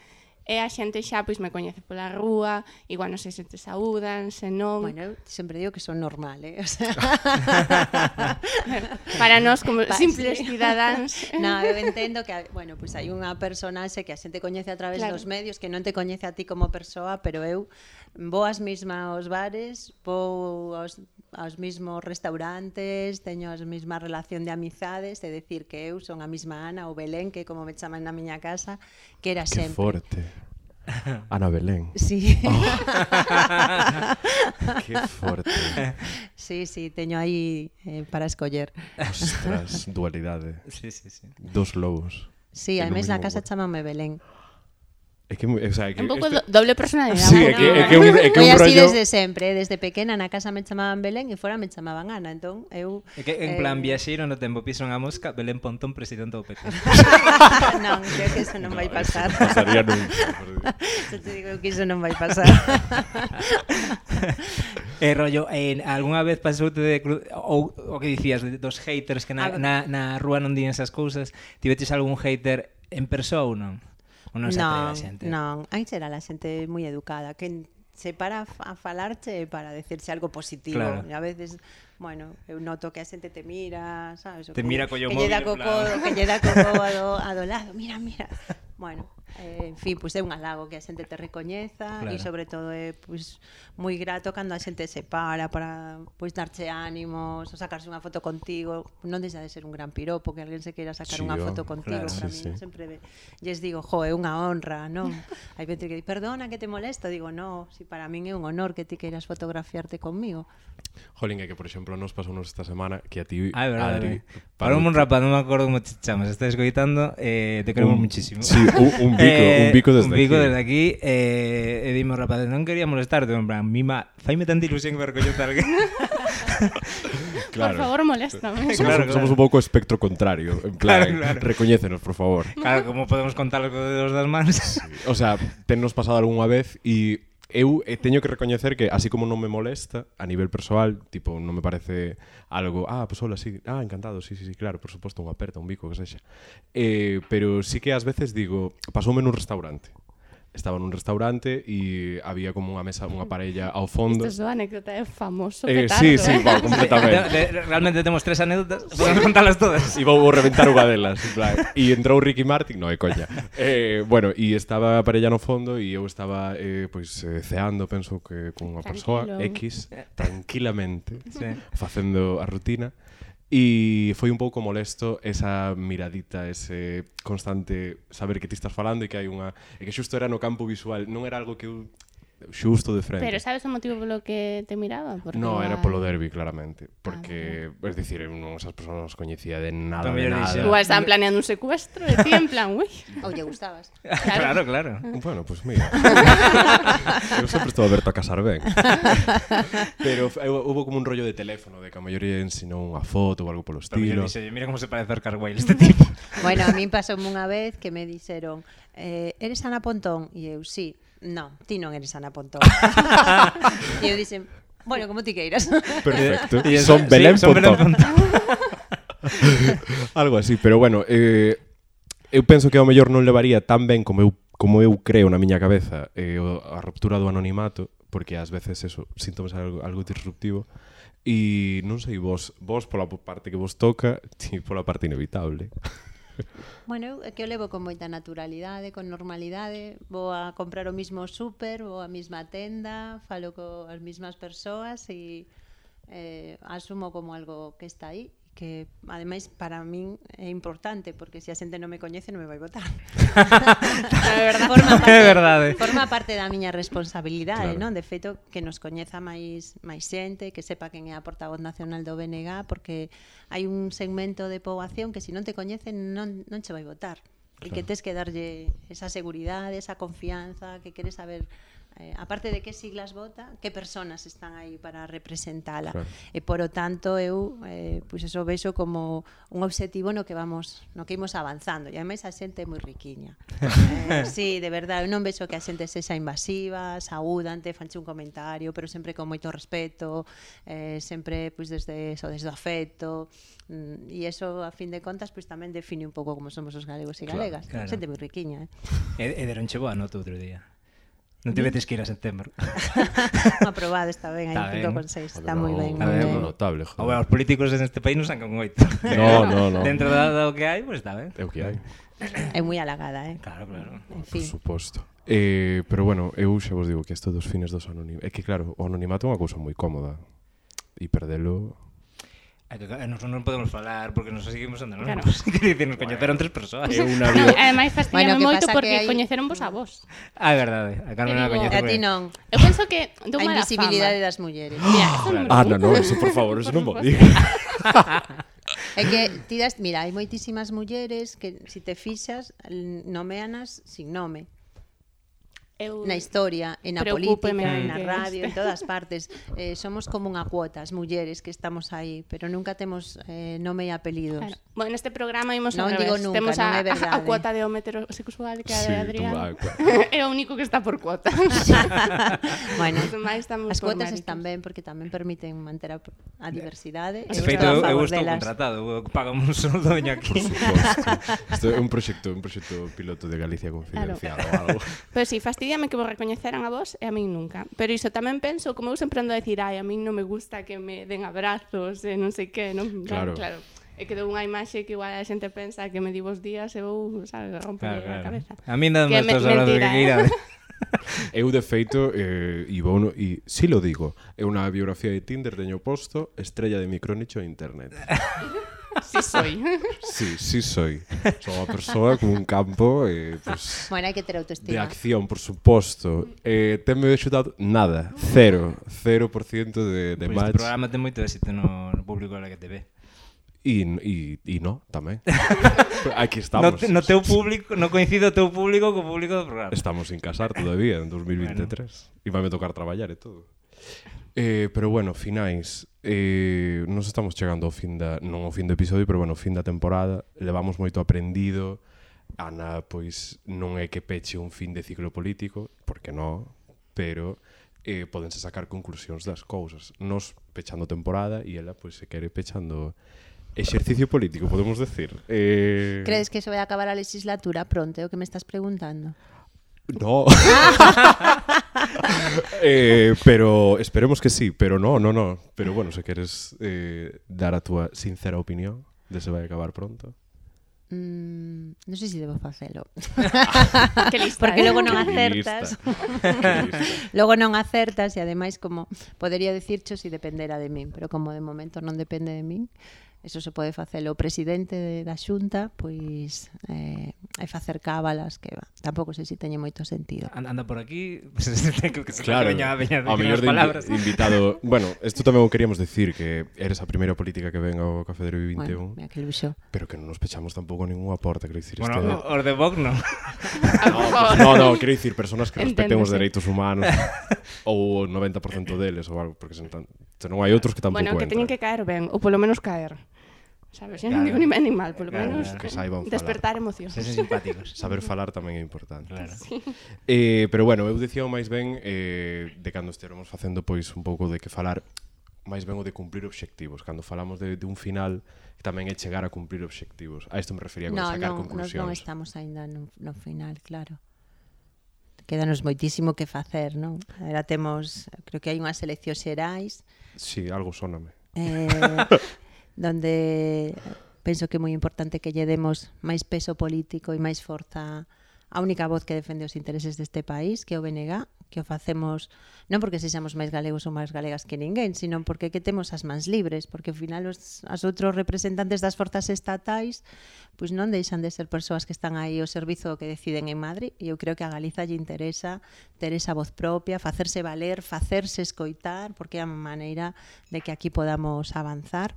[SPEAKER 2] e a xente xa pois me coñece pola rúa, igual non sei se te saúdan, se non.
[SPEAKER 5] Bueno, eu sempre digo que son normal, eh? O sea,
[SPEAKER 2] para nós como
[SPEAKER 5] pa-
[SPEAKER 2] simples
[SPEAKER 5] sí.
[SPEAKER 2] cidadáns.
[SPEAKER 5] no, eu entendo que, bueno, pois pues hai unha personaxe que a xente coñece a través
[SPEAKER 2] Claro.
[SPEAKER 5] claro. dos medios, que non te coñece a ti como persoa, pero eu vou as mesma aos bares, vou aos, aos mismos restaurantes, teño as mesma relación de amizades, é decir, que eu son a mesma Ana ou Belén, que como me chaman na miña casa, que era
[SPEAKER 3] Que
[SPEAKER 5] sempre.
[SPEAKER 3] forte. Ana Belén.
[SPEAKER 5] Sí.
[SPEAKER 3] Que forte.
[SPEAKER 5] Sí, sí, teño aí eh, para escoller.
[SPEAKER 3] Ostras, dualidade.
[SPEAKER 4] Sí, sí, sí.
[SPEAKER 3] Dos lobos.
[SPEAKER 5] Sí,
[SPEAKER 3] É lo
[SPEAKER 5] además na
[SPEAKER 3] mismo,
[SPEAKER 5] casa
[SPEAKER 3] bueno.
[SPEAKER 5] chamame Belén.
[SPEAKER 3] É que, o sea, é que
[SPEAKER 2] Un pouco
[SPEAKER 3] este-
[SPEAKER 2] do- doble personalidade.
[SPEAKER 3] Sí, é que, é que un, é que
[SPEAKER 5] Foi
[SPEAKER 3] un
[SPEAKER 5] así
[SPEAKER 3] rollo...
[SPEAKER 5] desde sempre, eh, desde pequena na casa me chamaban Belén e fora me chamaban Ana, entón eu
[SPEAKER 4] É que en
[SPEAKER 5] eh,
[SPEAKER 4] plan viaxeiro no tempo pisan a mosca Belén Pontón presidente do PP.
[SPEAKER 5] non, creo que eso non vai
[SPEAKER 3] eso
[SPEAKER 5] pasar.
[SPEAKER 3] non pasaría nunca.
[SPEAKER 5] Yo te digo que iso non vai pasar.
[SPEAKER 4] E Eh, rollo, en algunha vez pasoute de cru... ou o que dicías de- dos haters que na,
[SPEAKER 5] A ver.
[SPEAKER 4] na, na rúa non din esas cousas, tiveches algún hater en persoa ou non? Ou non se atreve a xente?
[SPEAKER 5] non, aí será la xente moi educada, que se para a f- a falarche para decirse algo positivo.
[SPEAKER 4] Claro.
[SPEAKER 5] E a veces, bueno, eu noto que a xente te mira, sabes? O
[SPEAKER 4] Te
[SPEAKER 5] que-
[SPEAKER 4] mira collo
[SPEAKER 5] que lle dá
[SPEAKER 4] móvil, en
[SPEAKER 5] co
[SPEAKER 4] plan.
[SPEAKER 5] codo, que lle dá co codo a do, a do lado, mira, mira. Bueno, eh, en fin, pois pues é un halago que a xente te recoñeza
[SPEAKER 4] Claro.
[SPEAKER 5] e sobre todo é pois moi grato cando a xente se para para pois darche ánimos, ou sacarse unha foto contigo, non deixa de ser un gran piropo que alguén se queira sacar
[SPEAKER 3] Sí,
[SPEAKER 5] unha
[SPEAKER 3] oh,
[SPEAKER 5] foto contigo,
[SPEAKER 4] claro.
[SPEAKER 5] para
[SPEAKER 3] Sí, sí.
[SPEAKER 5] min sempre ve- lles digo, jo, é unha honra, non? Hai xente que di, perdona que te molesto, digo, no, si para min é un honor que ti queiras fotografiarte conmigo.
[SPEAKER 3] Jolín, é que, por exemplo, nos pasou nos esta semana que a ti,
[SPEAKER 4] Ah, é verdade.
[SPEAKER 3] Adri...
[SPEAKER 4] Para un
[SPEAKER 3] palo-
[SPEAKER 4] rapaz, non me acordo como te chamas, estás escoitando, eh, te queremos
[SPEAKER 3] Un-
[SPEAKER 4] muchísimo. Eh,
[SPEAKER 3] Sí, un, un bico, un bico desde
[SPEAKER 4] un bico
[SPEAKER 3] aquí.
[SPEAKER 4] desde aquí eh, e dimo, rapaz, non quería molestarte, en plan, mima, faime tanta ilusión que me recollo tal que...
[SPEAKER 3] Claro.
[SPEAKER 2] Por favor, moléstame.
[SPEAKER 3] Somos,
[SPEAKER 4] Claro,
[SPEAKER 3] somos
[SPEAKER 4] claro.
[SPEAKER 3] un pouco espectro contrario, en plan,
[SPEAKER 4] Claro, claro.
[SPEAKER 3] recoñécenos, por favor.
[SPEAKER 4] Claro, como podemos contar os dedos das mans?
[SPEAKER 3] O sea, tennos pasado algunha vez e eu eh, teño que recoñecer que así como non me molesta a nivel persoal, tipo, non me parece algo, ah, pues hola, sí, ah, encantado, sí, sí, sí, claro, por suposto, unha aperta, un bico, que sexa. Eh, pero sí que ás veces digo, pasoume nun restaurante. Estaba nun restaurante e había como unha mesa, unha parella ao fondo.
[SPEAKER 2] Isto é unha anécdota, é famoso
[SPEAKER 3] Eh,
[SPEAKER 2] petardo,
[SPEAKER 3] sí, sí,
[SPEAKER 2] eh?
[SPEAKER 3] va, completamente.
[SPEAKER 4] De- de- realmente temos tres anécdotas, podemos contarlas todas.
[SPEAKER 3] E vou, vou reventar unha delas en plan. E entrou Ricky Martin No, é coña eh, Bueno, e estaba a parella no fondo E eu estaba eh, pois, eh, ceando Penso que con unha persoa
[SPEAKER 2] Tranquilo.
[SPEAKER 3] X Tranquilamente
[SPEAKER 4] Sí.
[SPEAKER 3] Facendo a rutina E foi un pouco molesto esa miradita, ese constante saber que ti estás falando e que hai unha... E que xusto era no campo visual, non era algo que eu xusto de frente.
[SPEAKER 2] Pero sabes o motivo polo que te miraba? Porque
[SPEAKER 3] No, era
[SPEAKER 2] igual-
[SPEAKER 3] polo derbi, claramente.
[SPEAKER 2] Ah,
[SPEAKER 3] Porque, es decir, eu non esas persoas non as coñecía de nada, de
[SPEAKER 4] Tamén
[SPEAKER 3] nada.
[SPEAKER 4] dixen.
[SPEAKER 2] Igual estaban planeando un secuestro e ti en plan, ui.
[SPEAKER 5] Ou lle gustabas.
[SPEAKER 4] Claro, claro.
[SPEAKER 3] Bueno, pues mira. eu sempre estou aberto a casar ben. Pero f- eu- houve como un rollo de teléfono, de que a maioría ensinou unha foto ou algo polo
[SPEAKER 4] Pero
[SPEAKER 3] estilo.
[SPEAKER 4] dixe, mira como se parece a Oscar Wilde este tipo.
[SPEAKER 5] Bueno, a min pasoume unha vez que me dixeron, eh, eres Ana Pontón? E eu, sí. No, ti non eres Ana Pontón. e eu dixen, bueno, como ti queiras.
[SPEAKER 3] Perfecto.
[SPEAKER 4] E eso-
[SPEAKER 3] son
[SPEAKER 4] sí,
[SPEAKER 3] Belén
[SPEAKER 4] son Belén
[SPEAKER 3] Pontón. algo así, pero bueno, eh, eu penso que ao mellor non levaría tan ben como eu como eu creo na miña cabeza eh, o- a ruptura do anonimato, porque ás veces eso, síntomas algo, algo disruptivo e non sei vos, vos pola parte que vos toca, ti pola parte inevitable.
[SPEAKER 5] Bueno, eu é que o levo con moita naturalidade, con normalidade, vou a comprar o mismo súper, vou a mesma tenda, falo co as mismas persoas e eh, asumo como algo que está aí que ademais para min é importante porque se a xente non me coñece non me vai votar. é verdade. Forma parte,
[SPEAKER 4] É verdade.
[SPEAKER 5] Forma parte da miña
[SPEAKER 3] Claro.
[SPEAKER 5] responsabilidade, claro. non? De feito que nos coñeza máis máis xente, que sepa quen é a portavoz nacional do BNG, porque hai un segmento de poboación que se non te coñecen non non che vai votar. Claro. E que tes que darlle esa seguridade, esa confianza, que queres saber eh, aparte de que siglas vota, que personas están aí para representala.
[SPEAKER 3] Claro.
[SPEAKER 5] Claro. E por o tanto eu eh, pois eso vexo como un obxectivo no que vamos, no que imos avanzando. E ademais a xente é moi riquiña. eh, sí, de verdade, eu non vexo que a xente sexa invasiva, saúdante, fanche un comentario, pero sempre con moito respeto, eh, sempre pois desde eso, desde o afecto. Mm, e eso a fin de contas pois tamén define un pouco como somos os galegos e
[SPEAKER 3] Claro,
[SPEAKER 5] galegas.
[SPEAKER 4] claro.
[SPEAKER 5] Claro, claro. Xente moi riquiña,
[SPEAKER 4] E,
[SPEAKER 5] eh.
[SPEAKER 4] e deronche boa nota outro día. Non te vetes que ir a setembro.
[SPEAKER 5] aprobado, está ben,
[SPEAKER 4] Está
[SPEAKER 5] aí
[SPEAKER 4] ben.
[SPEAKER 5] 5,6, está moi ben. eh.
[SPEAKER 4] Está
[SPEAKER 5] moi
[SPEAKER 4] ben,
[SPEAKER 5] ben.
[SPEAKER 4] bueno.
[SPEAKER 3] notable,
[SPEAKER 4] Ah, bueno,
[SPEAKER 3] joder.
[SPEAKER 4] os políticos en este país non sacan oito.
[SPEAKER 3] No, no, no.
[SPEAKER 4] Dentro da, do que hai, pois pues, está ben.
[SPEAKER 3] É o que hai.
[SPEAKER 5] É moi halagada, eh.
[SPEAKER 4] Claro, claro.
[SPEAKER 3] Por
[SPEAKER 5] En fin.
[SPEAKER 3] suposto. Eh, pero bueno, eu xa vos digo que isto dos fines dos anonimatos... É que claro, o anonimato é unha cousa moi cómoda. E perdelo...
[SPEAKER 4] É que claro, nós non podemos falar porque nos seguimos andando. Claro.
[SPEAKER 2] Claro.
[SPEAKER 4] Quer dicir, nos coñeceron tres persoas.
[SPEAKER 3] Eu unha
[SPEAKER 2] Non,
[SPEAKER 3] vez...
[SPEAKER 2] ademais fastidiame
[SPEAKER 5] Bueno, que
[SPEAKER 2] moito
[SPEAKER 5] pasa
[SPEAKER 2] porque
[SPEAKER 5] que hai-
[SPEAKER 2] coñeceron vos a vos.
[SPEAKER 4] Ah, é verdade. A
[SPEAKER 2] Te
[SPEAKER 4] Carmen non a
[SPEAKER 2] digo-
[SPEAKER 5] E
[SPEAKER 4] coñece.
[SPEAKER 5] a ti non.
[SPEAKER 2] Eu penso que dou
[SPEAKER 5] A
[SPEAKER 2] mala
[SPEAKER 5] invisibilidade
[SPEAKER 2] fama.
[SPEAKER 5] das mulleres.
[SPEAKER 2] Mira, eso non
[SPEAKER 3] Ah,
[SPEAKER 2] lo
[SPEAKER 3] non,
[SPEAKER 2] digo.
[SPEAKER 3] non, eso por favor, eso non vou
[SPEAKER 2] Por
[SPEAKER 3] dir.
[SPEAKER 5] É que ti das, mira, hai moitísimas mulleres que se si te fixas l- nomeanas sin nome
[SPEAKER 2] Eu-
[SPEAKER 5] na historia, en a política,
[SPEAKER 2] Preocúpeme que-
[SPEAKER 5] na radio, en todas partes. Eh, somos como unha cuota as mulleres que estamos aí, pero nunca temos eh, nome e apelidos.
[SPEAKER 2] Claro. Bueno, neste programa imos
[SPEAKER 5] Non
[SPEAKER 2] ao revés.
[SPEAKER 5] digo nunca,
[SPEAKER 2] Temos
[SPEAKER 5] non
[SPEAKER 2] a, a, a
[SPEAKER 5] é verdade.
[SPEAKER 2] cuota de home heterosexual que a de
[SPEAKER 3] Sí,
[SPEAKER 2] Adrián.
[SPEAKER 3] tú, ah, claro.
[SPEAKER 2] é o único que está por cuota.
[SPEAKER 5] bueno,
[SPEAKER 2] Os demais estamos
[SPEAKER 5] as
[SPEAKER 2] por
[SPEAKER 5] cuotas
[SPEAKER 2] méritos.
[SPEAKER 5] están ben porque tamén permiten manter a, a diversidade.
[SPEAKER 4] De
[SPEAKER 5] eu
[SPEAKER 4] feito, eu, eu
[SPEAKER 5] estou a favor
[SPEAKER 4] estou
[SPEAKER 5] delas.
[SPEAKER 4] contratado. Eu pago un soldoño
[SPEAKER 3] Por
[SPEAKER 4] aquí.
[SPEAKER 3] suposto. Isto é un proxecto, un proxecto piloto de Galicia confidencial claro. ou algo.
[SPEAKER 2] Pero si, sí, fastidiame que vos recoñeceran a vos e a min nunca. Pero iso tamén penso, como eu sempre ando a decir, ai, a min non me gusta que me den abrazos e non sei que, non?
[SPEAKER 3] Claro.
[SPEAKER 2] claro. E que dou unha imaxe que igual a xente pensa que me di vos días e vou, sabes, romper claro,
[SPEAKER 4] Claro,
[SPEAKER 2] a
[SPEAKER 4] claro.
[SPEAKER 2] cabeza.
[SPEAKER 4] A mí nada
[SPEAKER 2] Que
[SPEAKER 4] máis
[SPEAKER 2] me-
[SPEAKER 4] estás hablando de
[SPEAKER 2] mentira,
[SPEAKER 4] que ir a...
[SPEAKER 2] eh.
[SPEAKER 3] Eu de feito eh, e vou no, e si lo digo, é unha biografía de Tinder teño posto estrella de micronicho en internet.
[SPEAKER 2] Si soy.
[SPEAKER 3] Sí, sí soy. Sou unha persoa con un campo eh, pues,
[SPEAKER 5] Bueno, hai que ter
[SPEAKER 3] de
[SPEAKER 5] autoestima.
[SPEAKER 3] acción, por suposto. Eh, tenme axudado nada, cero, 0% de, de
[SPEAKER 4] Pois
[SPEAKER 3] match.
[SPEAKER 4] este programa ten moito éxito no, no público a la que te ve.
[SPEAKER 3] E, e, e no, tamén. Aquí
[SPEAKER 4] No,
[SPEAKER 3] estamos.
[SPEAKER 4] te, no teu público, no coincido o teu público co público do programa.
[SPEAKER 3] Estamos sin casar todavía en 2023. Bueno. Iba a tocar traballar e todo. Eh, pero bueno, finais. Eh, nos estamos chegando ao fin da... Non ao fin do episodio, pero bueno, fin da temporada. Levamos moito aprendido. Ana, pois, non é que peche un fin de ciclo político, porque non, pero eh, podense sacar conclusións das cousas. Nos pechando temporada e ela, pois, se quere pechando exercicio político, podemos decir. Eh...
[SPEAKER 5] Crees que se vai acabar a legislatura pronto, é o que me estás preguntando?
[SPEAKER 3] No. eh, pero esperemos que sí, pero no, no, no. Pero bueno, se queres eh, dar a túa sincera opinión de se vai acabar pronto.
[SPEAKER 5] Mm, non sei se debo facelo.
[SPEAKER 2] que lista,
[SPEAKER 5] Porque
[SPEAKER 2] eh?
[SPEAKER 5] logo non
[SPEAKER 3] Que lista.
[SPEAKER 5] acertas.
[SPEAKER 3] Que lista.
[SPEAKER 5] Logo non acertas e ademais como podería dicircho se dependera de min, pero como de momento non depende de min, eso se pode facelo o presidente de, da Xunta, pois eh, e facer cábalas que va. Tampouco sei se teñe moito sentido.
[SPEAKER 3] Ah,
[SPEAKER 4] An- Anda por aquí, se que se
[SPEAKER 3] Claro,
[SPEAKER 4] veña, veña,
[SPEAKER 3] ao mellor
[SPEAKER 4] veña
[SPEAKER 3] de invi-
[SPEAKER 4] as palabras.
[SPEAKER 3] invitado Bueno, isto tamén o queríamos decir Que eres a primeira política que venga ao Café de 21
[SPEAKER 5] Bueno, mira que luxo.
[SPEAKER 3] Pero que non nos pechamos tampouco ninguna porta Quero dicir,
[SPEAKER 4] Bueno,
[SPEAKER 3] isto é-
[SPEAKER 4] os de Vox non.
[SPEAKER 2] A lo mejor.
[SPEAKER 3] No, no, quero dicir persoas que respeten os
[SPEAKER 2] Enténdese.
[SPEAKER 3] dereitos humanos ou o 90% deles ou algo, porque sentan, se non hai outros que tampouco
[SPEAKER 2] Bueno, que teñen
[SPEAKER 3] entran.
[SPEAKER 2] que caer ben, ou polo menos caer. Sabes, eu non
[SPEAKER 4] Claro.
[SPEAKER 2] digo ni ben ni mal, polo
[SPEAKER 4] Claro,
[SPEAKER 2] menos
[SPEAKER 4] claro.
[SPEAKER 3] Que saiban falar.
[SPEAKER 2] despertar emocións.
[SPEAKER 4] Se son simpáticos.
[SPEAKER 3] Saber falar tamén é importante.
[SPEAKER 4] Claro.
[SPEAKER 3] Eh, pero bueno, eu dicía o máis ben eh, de cando estivemos facendo pois un pouco de que falar máis ben o de cumprir obxectivos. Cando falamos de, de un final, tamén é chegar a cumprir obxectivos. A isto me refería con
[SPEAKER 5] No,
[SPEAKER 3] sacar
[SPEAKER 5] non, nos non
[SPEAKER 3] conclusións.
[SPEAKER 5] estamos aínda no, no final, claro. Quédanos moitísimo que facer, non? Era temos, creo que hai unhas eleccións xerais,
[SPEAKER 3] Sí, algo sóname.
[SPEAKER 5] eh, donde penso que é moi importante que lle demos máis peso político e máis forza a única voz que defende os intereses deste país, que é o BNG, que o facemos non porque sexamos máis galegos ou máis galegas que ninguén, sino porque que temos as mans libres, porque ao final os as outros representantes das forzas estatais pois non deixan de ser persoas que están aí ao servizo do que deciden en Madrid e eu creo que a Galiza lle interesa ter esa voz propia, facerse valer, facerse escoitar, porque é a maneira de que aquí podamos avanzar.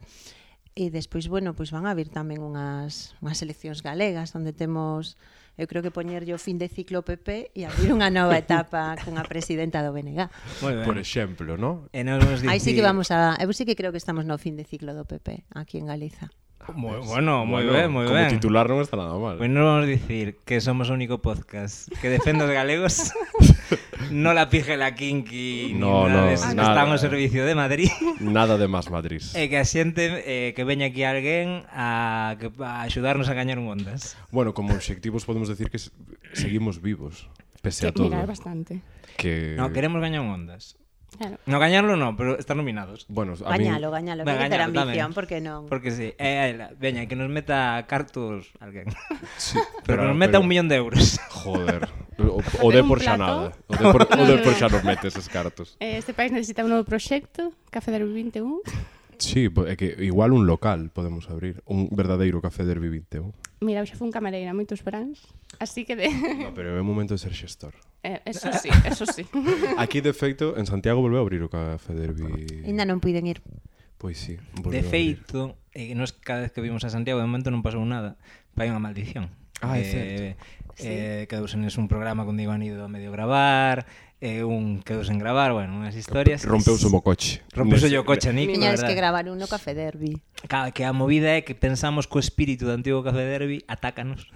[SPEAKER 5] E despois, bueno, pois van a vir tamén unhas, unhas eleccións galegas onde temos, eu creo que poñerlle o fin de ciclo PP e abrir unha nova etapa cunha presidenta do BNG.
[SPEAKER 4] Moi ben.
[SPEAKER 3] Por exemplo, ¿no?
[SPEAKER 4] E Eh, nos vamos
[SPEAKER 5] Aí sí
[SPEAKER 4] dicir-
[SPEAKER 5] que vamos a... Eu sí que creo que estamos no fin de ciclo do PP aquí en Galiza.
[SPEAKER 4] Moi, bueno, moi ben, moi
[SPEAKER 3] como
[SPEAKER 4] ben.
[SPEAKER 3] titular non está nada mal.
[SPEAKER 4] Pois non vamos dicir que somos o único podcast que defende os galegos. non la pije la kinky,
[SPEAKER 3] No,
[SPEAKER 4] nin nada
[SPEAKER 3] no,
[SPEAKER 4] deses que
[SPEAKER 3] nada.
[SPEAKER 4] están ao servicio de Madrid.
[SPEAKER 3] Nada de más Madrid.
[SPEAKER 4] E que a xente eh, que veña aquí alguén a, que, a axudarnos a gañar un ondas.
[SPEAKER 3] Bueno, como obxectivos podemos decir que s- seguimos vivos, pese a
[SPEAKER 2] que
[SPEAKER 3] todo.
[SPEAKER 2] mirar bastante.
[SPEAKER 3] Que
[SPEAKER 4] No, queremos gañar un ondas.
[SPEAKER 2] Claro.
[SPEAKER 4] No, gañarlo non, pero estar nominados.
[SPEAKER 3] bueno, a mí
[SPEAKER 5] Gañalo, gañalo,
[SPEAKER 4] Va,
[SPEAKER 5] vai ter
[SPEAKER 4] gañalo tamén.
[SPEAKER 5] ambición, porque non?
[SPEAKER 4] Porque sí, eh, la, veña, que nos meta cartos alguén.
[SPEAKER 3] sí,
[SPEAKER 4] Pero, nos meta un millón de euros.
[SPEAKER 3] Joder. O, o
[SPEAKER 2] Hacer
[SPEAKER 3] de
[SPEAKER 2] un
[SPEAKER 3] por xa
[SPEAKER 2] plato.
[SPEAKER 3] nada. O de por, o de por xa nos metes os cartos.
[SPEAKER 2] Eh, Este país necesita un novo proxecto, Café del 21.
[SPEAKER 3] Sí, po- é que igual un local podemos abrir, un verdadeiro café derbi 21.
[SPEAKER 2] Mira, eu xa fun camareira moitos brans, así que de...
[SPEAKER 3] No, pero é momento de ser xestor.
[SPEAKER 2] Eh, eso sí, eso sí.
[SPEAKER 3] Aquí, de feito, en Santiago volveu a abrir o café derbi.
[SPEAKER 5] Ainda non puiden ir.
[SPEAKER 3] Pois sí, volveu a
[SPEAKER 4] De
[SPEAKER 3] abrir.
[SPEAKER 4] feito, eh, que nos cada vez que vimos a Santiago de momento non pasou nada, vai unha maldición.
[SPEAKER 3] Ah, é
[SPEAKER 4] eh, eh, quedouse nes un programa con Diego Anido a medio gravar, eh, un quedouse en gravar, bueno, unhas historias.
[SPEAKER 3] Rompeuse o coche.
[SPEAKER 4] Rompeuse
[SPEAKER 3] Nese-
[SPEAKER 4] o coche a Nico,
[SPEAKER 5] Tiñades que
[SPEAKER 4] verdad.
[SPEAKER 5] gravar un no Café Derby.
[SPEAKER 4] Claro, que a movida é que pensamos co espírito do antigo Café Derby atácanos.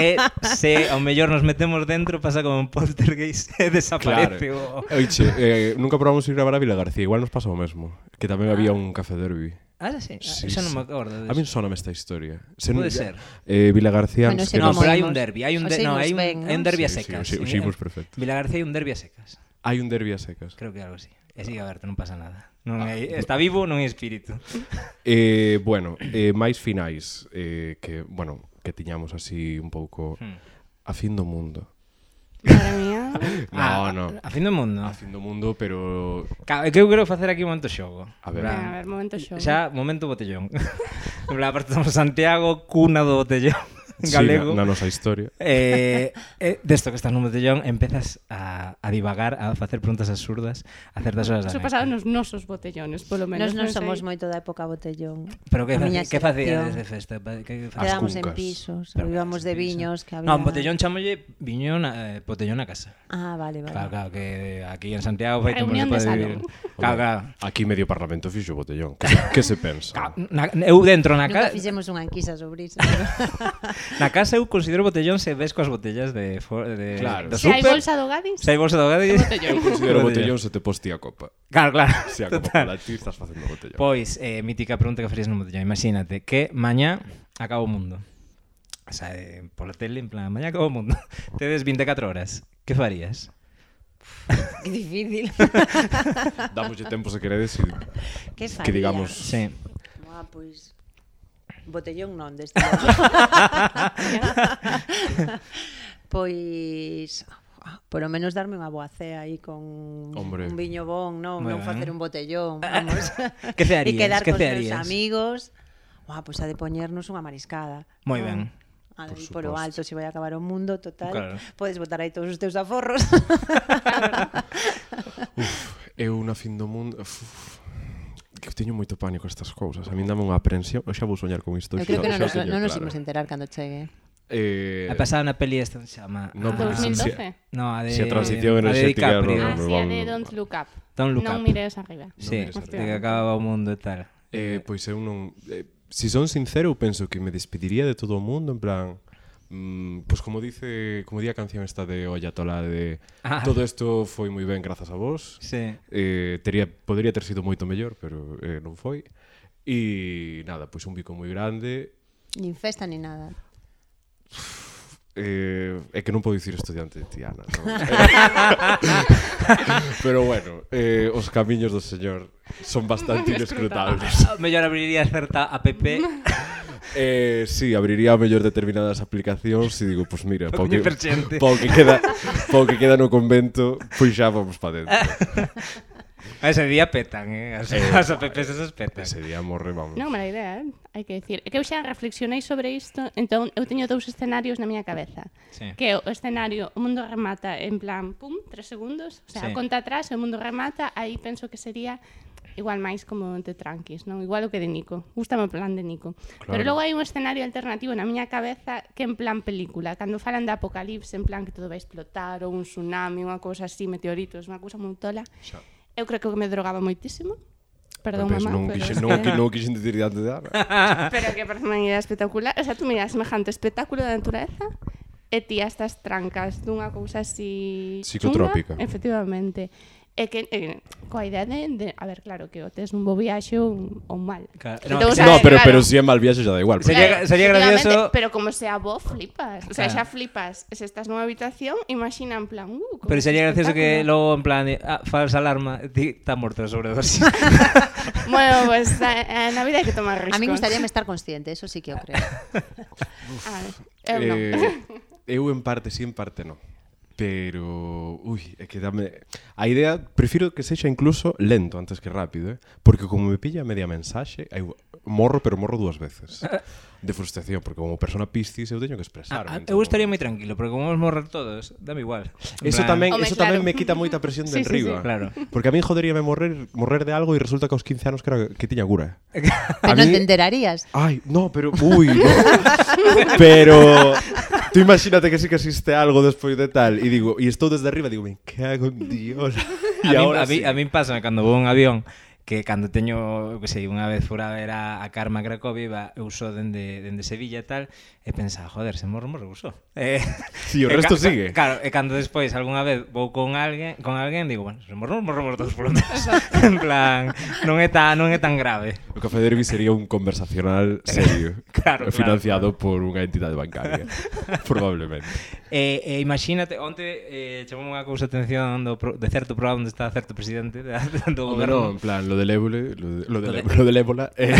[SPEAKER 4] e se ao mellor nos metemos dentro pasa como un poltergeist e desaparece
[SPEAKER 3] Claro.
[SPEAKER 4] o...
[SPEAKER 3] Oiche, eh, nunca probamos ir gravar a Vila García, igual nos pasa o mesmo, que tamén había un café derbi.
[SPEAKER 4] Ah, sí,
[SPEAKER 3] Sí,
[SPEAKER 4] sí, xa non
[SPEAKER 3] sí.
[SPEAKER 4] me acordo.
[SPEAKER 3] A mí soname esta historia. Se
[SPEAKER 4] Pode ser.
[SPEAKER 3] Eh, Vila García...
[SPEAKER 5] Bueno,
[SPEAKER 3] nos que
[SPEAKER 5] se non
[SPEAKER 3] nos-
[SPEAKER 4] No,
[SPEAKER 5] Como
[SPEAKER 4] pero hai
[SPEAKER 5] imos-
[SPEAKER 4] un derbi, hai un,
[SPEAKER 5] os
[SPEAKER 4] de... no,
[SPEAKER 5] imos
[SPEAKER 4] hai un,
[SPEAKER 5] ben,
[SPEAKER 4] hai un
[SPEAKER 5] non?
[SPEAKER 4] derbi a
[SPEAKER 3] Sí, sí,
[SPEAKER 4] secas. ¿eh?
[SPEAKER 3] os- os
[SPEAKER 4] En-
[SPEAKER 3] imos perfecto.
[SPEAKER 4] Vila García hai un derbi a secas,
[SPEAKER 3] Hai un derbi a secas.
[SPEAKER 4] creo que algo así. E sigue aberto, non pasa nada.
[SPEAKER 3] Ah.
[SPEAKER 4] Non hai, está vivo, non hai espírito.
[SPEAKER 3] Eh, bueno, eh, máis finais eh, que, bueno, que tiñamos así un pouco
[SPEAKER 4] Hmm.
[SPEAKER 3] a fin do mundo.
[SPEAKER 2] Madre mía.
[SPEAKER 3] No, no.
[SPEAKER 4] Ah, A fin do mundo.
[SPEAKER 3] A fin do mundo, pero...
[SPEAKER 4] Ca- é que eu quero facer aquí un momento xogo.
[SPEAKER 3] A ver.
[SPEAKER 4] Bra-
[SPEAKER 2] Venga, Eh, a ver, momento show.
[SPEAKER 4] Xa, momento botellón. En plan, aparte estamos Santiago, cuna do botellón galego.
[SPEAKER 3] Sí, na, na nosa historia.
[SPEAKER 4] Eh, eh, desto que estás no botellón empezas a, a divagar, a facer preguntas absurdas a certas horas da
[SPEAKER 2] Eso
[SPEAKER 4] noite.
[SPEAKER 2] pasado nos nosos botellones, polo menos.
[SPEAKER 5] Nós non
[SPEAKER 2] sei.
[SPEAKER 5] somos moito da época botellón.
[SPEAKER 4] Pero que,
[SPEAKER 5] A miña
[SPEAKER 4] faci- que facías
[SPEAKER 5] xeración.
[SPEAKER 4] de festa? Pa- Que, que
[SPEAKER 3] As
[SPEAKER 4] facías?
[SPEAKER 5] Quedábamos en
[SPEAKER 3] cuncas.
[SPEAKER 5] pisos,
[SPEAKER 4] Pero
[SPEAKER 5] vivíamos de
[SPEAKER 4] quedábamos en
[SPEAKER 5] viños que había...
[SPEAKER 4] No, en botellón chamolle viño na, eh, botellón a casa.
[SPEAKER 5] Ah, vale, vale.
[SPEAKER 4] Claro, claro, que aquí en Santiago vai como se
[SPEAKER 2] Reunión de
[SPEAKER 4] pode
[SPEAKER 2] salón.
[SPEAKER 4] vivir. Claro, claro.
[SPEAKER 3] Aquí medio parlamento fixo botellón. Que, se- que se pensa?
[SPEAKER 4] Ca- Na, eu dentro na, ca,
[SPEAKER 5] Nunca fixemos unha enquisa sobre iso.
[SPEAKER 4] na casa eu considero botellón se ves coas botellas de, for, de
[SPEAKER 3] Claro.
[SPEAKER 4] do
[SPEAKER 2] Se hai
[SPEAKER 4] súper.
[SPEAKER 2] bolsa do Gadis,
[SPEAKER 4] Se hai bolsa do gado e-
[SPEAKER 2] botellón.
[SPEAKER 3] Considero botellón se te postía copa.
[SPEAKER 4] Claro, claro.
[SPEAKER 3] Se a copa
[SPEAKER 4] Total.
[SPEAKER 3] para ti estás facendo botellón.
[SPEAKER 4] Pois, eh, mítica pregunta que farías no botellón. Imagínate que mañá acaba o mundo. O sea, eh, pola tele, en plan, mañá acaba o mundo. Tedes 24 horas. Que farías?
[SPEAKER 5] que difícil.
[SPEAKER 3] Dámoslle tempo se queredes e
[SPEAKER 5] que faría?
[SPEAKER 3] que digamos...
[SPEAKER 4] Sí.
[SPEAKER 5] Ah, pois... Botellón non deste. pois... ah, Por o menos darme unha boa cea aí con
[SPEAKER 3] Hombre.
[SPEAKER 5] un viño bon, non,
[SPEAKER 4] Moi
[SPEAKER 5] non
[SPEAKER 4] ben.
[SPEAKER 5] facer un botellón, vamos.
[SPEAKER 4] Que te
[SPEAKER 5] E
[SPEAKER 4] harías?
[SPEAKER 5] quedar
[SPEAKER 4] que
[SPEAKER 5] cos
[SPEAKER 4] te
[SPEAKER 5] meus
[SPEAKER 4] harías?
[SPEAKER 5] amigos. Buah, pois a de poñernos unha mariscada.
[SPEAKER 4] Moi
[SPEAKER 5] Ah,
[SPEAKER 4] ben.
[SPEAKER 5] Por,
[SPEAKER 3] Por
[SPEAKER 5] por o
[SPEAKER 3] suposto.
[SPEAKER 5] alto, se vai acabar o mundo, total.
[SPEAKER 4] Claro.
[SPEAKER 5] Podes botar aí todos os teus aforros.
[SPEAKER 3] Eu na fin do mundo... Uf, que eu teño moito pánico a estas cousas. A min dame unha aprensión. Eu xa vou soñar con isto.
[SPEAKER 5] Eu creo
[SPEAKER 3] xa- xa
[SPEAKER 5] que non nos,
[SPEAKER 3] o teño
[SPEAKER 5] non nos
[SPEAKER 3] claro.
[SPEAKER 5] imos enterar cando chegue.
[SPEAKER 3] Eh,
[SPEAKER 4] A pasada na peli esta que se chama...
[SPEAKER 3] No,
[SPEAKER 4] Ah,
[SPEAKER 3] pero sí,
[SPEAKER 2] 2012.
[SPEAKER 3] sí.
[SPEAKER 4] No, a de...
[SPEAKER 3] Si a transición
[SPEAKER 4] a de
[SPEAKER 3] enerxética non-
[SPEAKER 4] DiCaprio.
[SPEAKER 2] Ah, sí, a de
[SPEAKER 3] Vamos.
[SPEAKER 2] Don't Look Up.
[SPEAKER 4] Don't Look
[SPEAKER 2] non
[SPEAKER 4] Up.
[SPEAKER 2] mires arriba.
[SPEAKER 4] Sí,
[SPEAKER 3] Non
[SPEAKER 4] de
[SPEAKER 3] queres
[SPEAKER 4] que acababa o mundo e tal.
[SPEAKER 3] Eh, pois eu non... Eh, si son sincero, eu penso que me despediría de todo o mundo, en plan... Mm, pois como dice, como di a canción esta de Oyatolá de
[SPEAKER 4] Ah.
[SPEAKER 3] todo isto foi moi ben grazas a vos.
[SPEAKER 4] Sí.
[SPEAKER 3] Eh, tería, podería ter sido moito mellor, pero eh, non foi. E nada, pois un bico moi grande
[SPEAKER 5] Nin festa, nin nada.
[SPEAKER 3] Eh, é que non podo dicir estudiante de Tiana non? Pero bueno eh, Os camiños do señor Son bastante inescrutables
[SPEAKER 4] Ah, Mellor abriría certa app
[SPEAKER 3] eh, Si, sí, abriría a mellor determinadas aplicañes E digo, pois pues mira
[SPEAKER 4] Para
[SPEAKER 3] pau que,
[SPEAKER 4] coñecer xente.
[SPEAKER 3] pau que queda Pau que queda no convento Pois xa vamos para dentro
[SPEAKER 4] A ese día petan, eh? As,
[SPEAKER 3] Eh,
[SPEAKER 4] as apps esas petan.
[SPEAKER 3] Ese día morre, vamos
[SPEAKER 2] Non é mala idea, eh? hai que dicir. É que eu xa reflexionei sobre isto, entón eu teño dous escenarios na miña cabeza.
[SPEAKER 4] Sí.
[SPEAKER 2] Que é o escenario, o mundo remata en plan, pum, tres segundos, o sea,
[SPEAKER 4] Sí.
[SPEAKER 2] sí. conta atrás, o mundo remata, aí penso que sería igual máis como de tranquis, non? Igual o que de Nico. Gústame o plan de Nico.
[SPEAKER 3] Claro.
[SPEAKER 2] Claro. Pero logo hai un escenario alternativo na miña cabeza que en plan película, cando falan de apocalipse, en plan que todo vai explotar ou un tsunami, unha cousa así, meteoritos, unha cousa moi tola.
[SPEAKER 3] Xa.
[SPEAKER 2] Eu creo que o que me drogaba moitísimo. Perdón,
[SPEAKER 3] Pois
[SPEAKER 2] mamá,
[SPEAKER 3] non
[SPEAKER 2] pero
[SPEAKER 3] quixen,
[SPEAKER 2] es
[SPEAKER 3] non,
[SPEAKER 2] que-
[SPEAKER 3] que non quixen dicir diante de Ana.
[SPEAKER 2] Pero que parece unha idea espectacular. O sea, tú miras semejante espectáculo da natureza e ti a estas trancas dunha cousa así...
[SPEAKER 3] Psicotrópica.
[SPEAKER 2] Chunga, efectivamente. E que, e, coa idea de, de... A ver, claro, que o tes un bo viaxe ou ou un mal.
[SPEAKER 4] Claro,
[SPEAKER 2] Que
[SPEAKER 4] no,
[SPEAKER 2] te
[SPEAKER 4] que
[SPEAKER 2] vos
[SPEAKER 4] sea-
[SPEAKER 2] a ver,
[SPEAKER 3] no, pero,
[SPEAKER 2] claro.
[SPEAKER 3] pero si é mal viaxe xa da igual.
[SPEAKER 4] Sería-
[SPEAKER 3] pero-
[SPEAKER 2] Claro,
[SPEAKER 4] sería gracioso-
[SPEAKER 2] efectivamente, Pero como sea vos, flipas. O sea, xa
[SPEAKER 4] Claro.
[SPEAKER 2] flipas. Se estás nunha habitación, imagina en plan... Uh, como
[SPEAKER 4] Pero sería
[SPEAKER 2] este
[SPEAKER 4] gracioso que
[SPEAKER 2] espectáculo.
[SPEAKER 4] logo en plan de, ah, falsa alarma, ti está morto de sobredosis.
[SPEAKER 2] Bueno, pues a, a, na vida hai que tomar riscos.
[SPEAKER 5] A mí gustaríame estar consciente, eso sí que o creo.
[SPEAKER 2] A ver, Ah, eu non.
[SPEAKER 3] Eh, eu en parte sí, en parte non. Pero, ui, é que dame... A idea, prefiro que sexa incluso lento antes que rápido, eh? porque como me pilla media mensaxe, eu morro, pero morro dúas veces. De frustración, porque como persona piscis eu teño que expresarme.
[SPEAKER 4] Ah, ah,
[SPEAKER 3] entón
[SPEAKER 4] eu estaría
[SPEAKER 3] non-
[SPEAKER 4] moi tranquilo, porque como vamos morrer todos, dame igual. En
[SPEAKER 3] Eso
[SPEAKER 4] plan,
[SPEAKER 3] tamén,
[SPEAKER 2] Home,
[SPEAKER 3] eso tamén
[SPEAKER 2] claro.
[SPEAKER 3] me quita moita presión de
[SPEAKER 2] Sí, sí, sí.
[SPEAKER 3] enriba.
[SPEAKER 4] Claro.
[SPEAKER 3] Porque a mí joderíame morrer, morrer de algo e resulta que aos 15 anos que, era, que tiña cura. eh.
[SPEAKER 5] Pero no te enterarías.
[SPEAKER 3] Ay, no, pero uy, no. pero tú imagínate que sí que existe algo despois de tal y digo, y estou desde arriba, digo, me cago en Dios.
[SPEAKER 4] A
[SPEAKER 3] Y
[SPEAKER 4] mí,
[SPEAKER 3] ahora
[SPEAKER 4] a, mí,
[SPEAKER 3] sí.
[SPEAKER 4] a mí pasa cando vou un avión que cando teño, que sei, unha vez fura ver a, a Karma Cracovia, iba, eu só dende, dende Sevilla e tal, e pensaba, joder, se morro, morro, eu só. Eh,
[SPEAKER 3] Sí, o
[SPEAKER 4] e
[SPEAKER 3] resto
[SPEAKER 4] ca-
[SPEAKER 3] sigue.
[SPEAKER 4] Claro, eh, e cando despois algunha vez vou con alguén, con alguén digo, bueno, se morro, morro, morro todos polo menos. en plan, non é tan, non é tan grave.
[SPEAKER 3] O Café Derby sería un conversacional serio,
[SPEAKER 4] Claro, claro,
[SPEAKER 3] financiado por unha entidade bancaria, probablemente.
[SPEAKER 4] E, e Eh, imagínate, onte eh, chamou unha cousa a atención do pro, de certo programa onde está certo presidente da, do
[SPEAKER 3] Hombre, no, en
[SPEAKER 4] goberno.
[SPEAKER 3] plan, lo del ébola, lo, de, lo, del,
[SPEAKER 4] de-
[SPEAKER 3] ébola- lo del ébola, eh,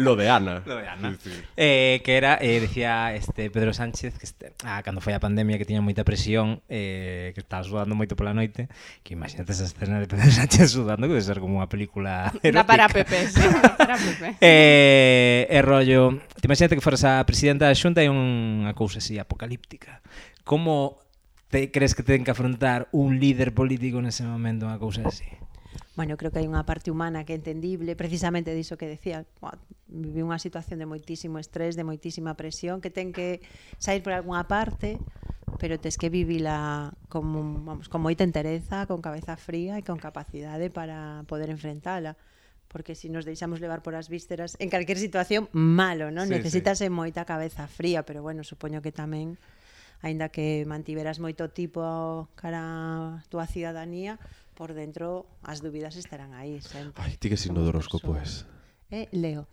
[SPEAKER 3] lo de Ana.
[SPEAKER 4] Lo de Ana.
[SPEAKER 3] Sí, sí.
[SPEAKER 4] Eh, que era, eh, decía este Pedro Sánchez que este, ah, cando foi a pandemia que tiña moita presión eh, que estaba sudando moito pola noite que imagínate esa escena de Pedro Sánchez sudando que debe ser como unha película
[SPEAKER 2] Da
[SPEAKER 4] erótica.
[SPEAKER 2] para Pepe, sí, da para Pepe.
[SPEAKER 4] Eh, é rollo, te imagínate que foras a presidenta da Xunta e unha cousa así apocalíptica. Como te crees que ten que afrontar un líder político nese momento unha cousa así?
[SPEAKER 5] Bueno, eu creo que hai unha parte humana que é entendible, precisamente diso que decía, cua- viví unha situación de moitísimo estrés, de moitísima presión, que ten que sair por algunha parte, pero tes que vivila como, vamos, con moita entereza, con cabeza fría e con capacidade para poder enfrentala. Porque se si nos deixamos levar por as vísceras, en calquer situación, malo, non?
[SPEAKER 4] Sí,
[SPEAKER 5] Sí, Necesitase sí. moita cabeza fría, pero bueno, supoño que tamén aínda que mantiveras moito tipo cara a túa cidadanía, por dentro as dúbidas estarán aí sempre.
[SPEAKER 3] Ai, ti que signo do
[SPEAKER 5] Somos
[SPEAKER 3] horóscopo
[SPEAKER 5] persoas.
[SPEAKER 3] es?
[SPEAKER 5] Eh, Leo.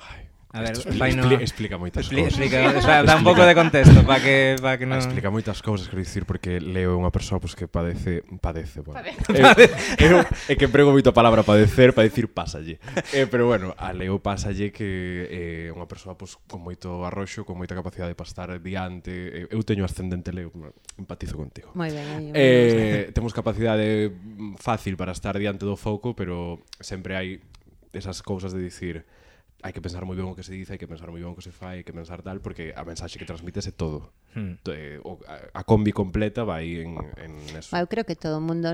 [SPEAKER 3] Ay,
[SPEAKER 4] A ver,
[SPEAKER 3] isto expli-
[SPEAKER 4] vai no-
[SPEAKER 3] expli- explica moitas
[SPEAKER 4] Expli-
[SPEAKER 3] cousas.
[SPEAKER 4] Explica, o sea, dá un pouco de contexto para que, pa que
[SPEAKER 3] No.
[SPEAKER 4] non...
[SPEAKER 3] Ah, Explica moitas cousas, quero dicir, porque Leo é unha persoa pois, que padece... Padece, bueno.
[SPEAKER 2] Padece.
[SPEAKER 3] Eu, eu, é que emprego moito a palabra padecer para dicir pásalle. Eh, pero bueno, a Leo pásalle que é eh, unha persoa pois, con moito arroxo, con moita capacidade para estar diante. Eh, Eu teño ascendente Leo, empatizo contigo.
[SPEAKER 5] Moi ben, aí.
[SPEAKER 3] Eh, temos capacidade mm, fácil para estar diante do foco, pero sempre hai esas cousas de dicir hai que pensar moi ben o que se dice, hai que pensar moi ben o que se fai, hai que pensar tal, porque a mensaxe que transmites é todo.
[SPEAKER 4] Hmm.
[SPEAKER 3] To- eh, o- A a combi completa vai en, en eso.
[SPEAKER 5] Eu creo que todo o mundo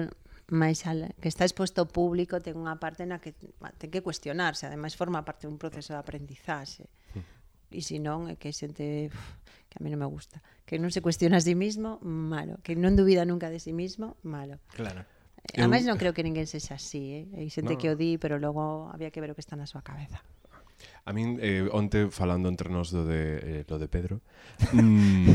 [SPEAKER 5] máis al, que está exposto ao público ten unha parte na que ba, ten que cuestionarse, ademais forma parte dun proceso de aprendizaxe. E se non, é que hai xente uf, que a mí non me gusta, que non se cuestiona a sí mismo, malo, que non dubida nunca de sí mismo, malo.
[SPEAKER 4] Claro.
[SPEAKER 5] Eh,
[SPEAKER 3] Eu-
[SPEAKER 5] Ademais non creo que ninguén sexa así, eh? hai
[SPEAKER 3] No.
[SPEAKER 5] xente no. que o di, pero logo había que ver o que está na súa cabeza.
[SPEAKER 3] A min eh, onte falando entre nós do de eh, lo de Pedro, mm,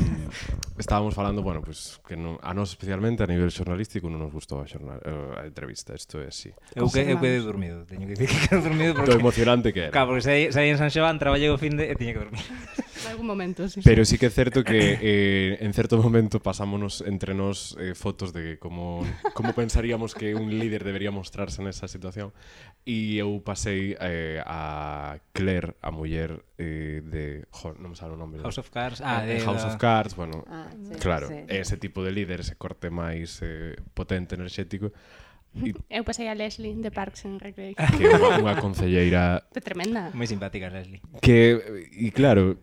[SPEAKER 3] estábamos falando, bueno, pues que non, a nós especialmente a nivel xornalístico non nos gustou a, xornal, eh, a entrevista, isto é así.
[SPEAKER 4] Eu que eu quedei dormido, teño que dicir que quedei dormido
[SPEAKER 3] Lo
[SPEAKER 4] porque
[SPEAKER 3] emocionante que era.
[SPEAKER 4] Claro, porque saí, saí en San Xoán, traballei o fin de e tiña que dormir.
[SPEAKER 2] En algún momento, sí.
[SPEAKER 3] Pero sí que é certo que eh, en certo momento pasámonos entre nós eh, fotos de como, como pensaríamos que un líder debería mostrarse nesa situación e eu pasei eh, a Claire, a muller eh, de... Jo, non me sale o nome.
[SPEAKER 4] House of Cards, ah,
[SPEAKER 3] de
[SPEAKER 4] de
[SPEAKER 3] Eh, House
[SPEAKER 4] da-
[SPEAKER 3] of Cards, bueno,
[SPEAKER 5] Ah, sí,
[SPEAKER 3] claro, eh.
[SPEAKER 5] sí.
[SPEAKER 3] ese tipo de líder, ese corte máis eh, potente enerxético,
[SPEAKER 2] Eu pasei a Leslie de Parks and Recreation.
[SPEAKER 4] Eh.
[SPEAKER 3] que é unha, unha concelleira
[SPEAKER 2] Fue tremenda.
[SPEAKER 4] Moi simpática Leslie.
[SPEAKER 3] que, e claro,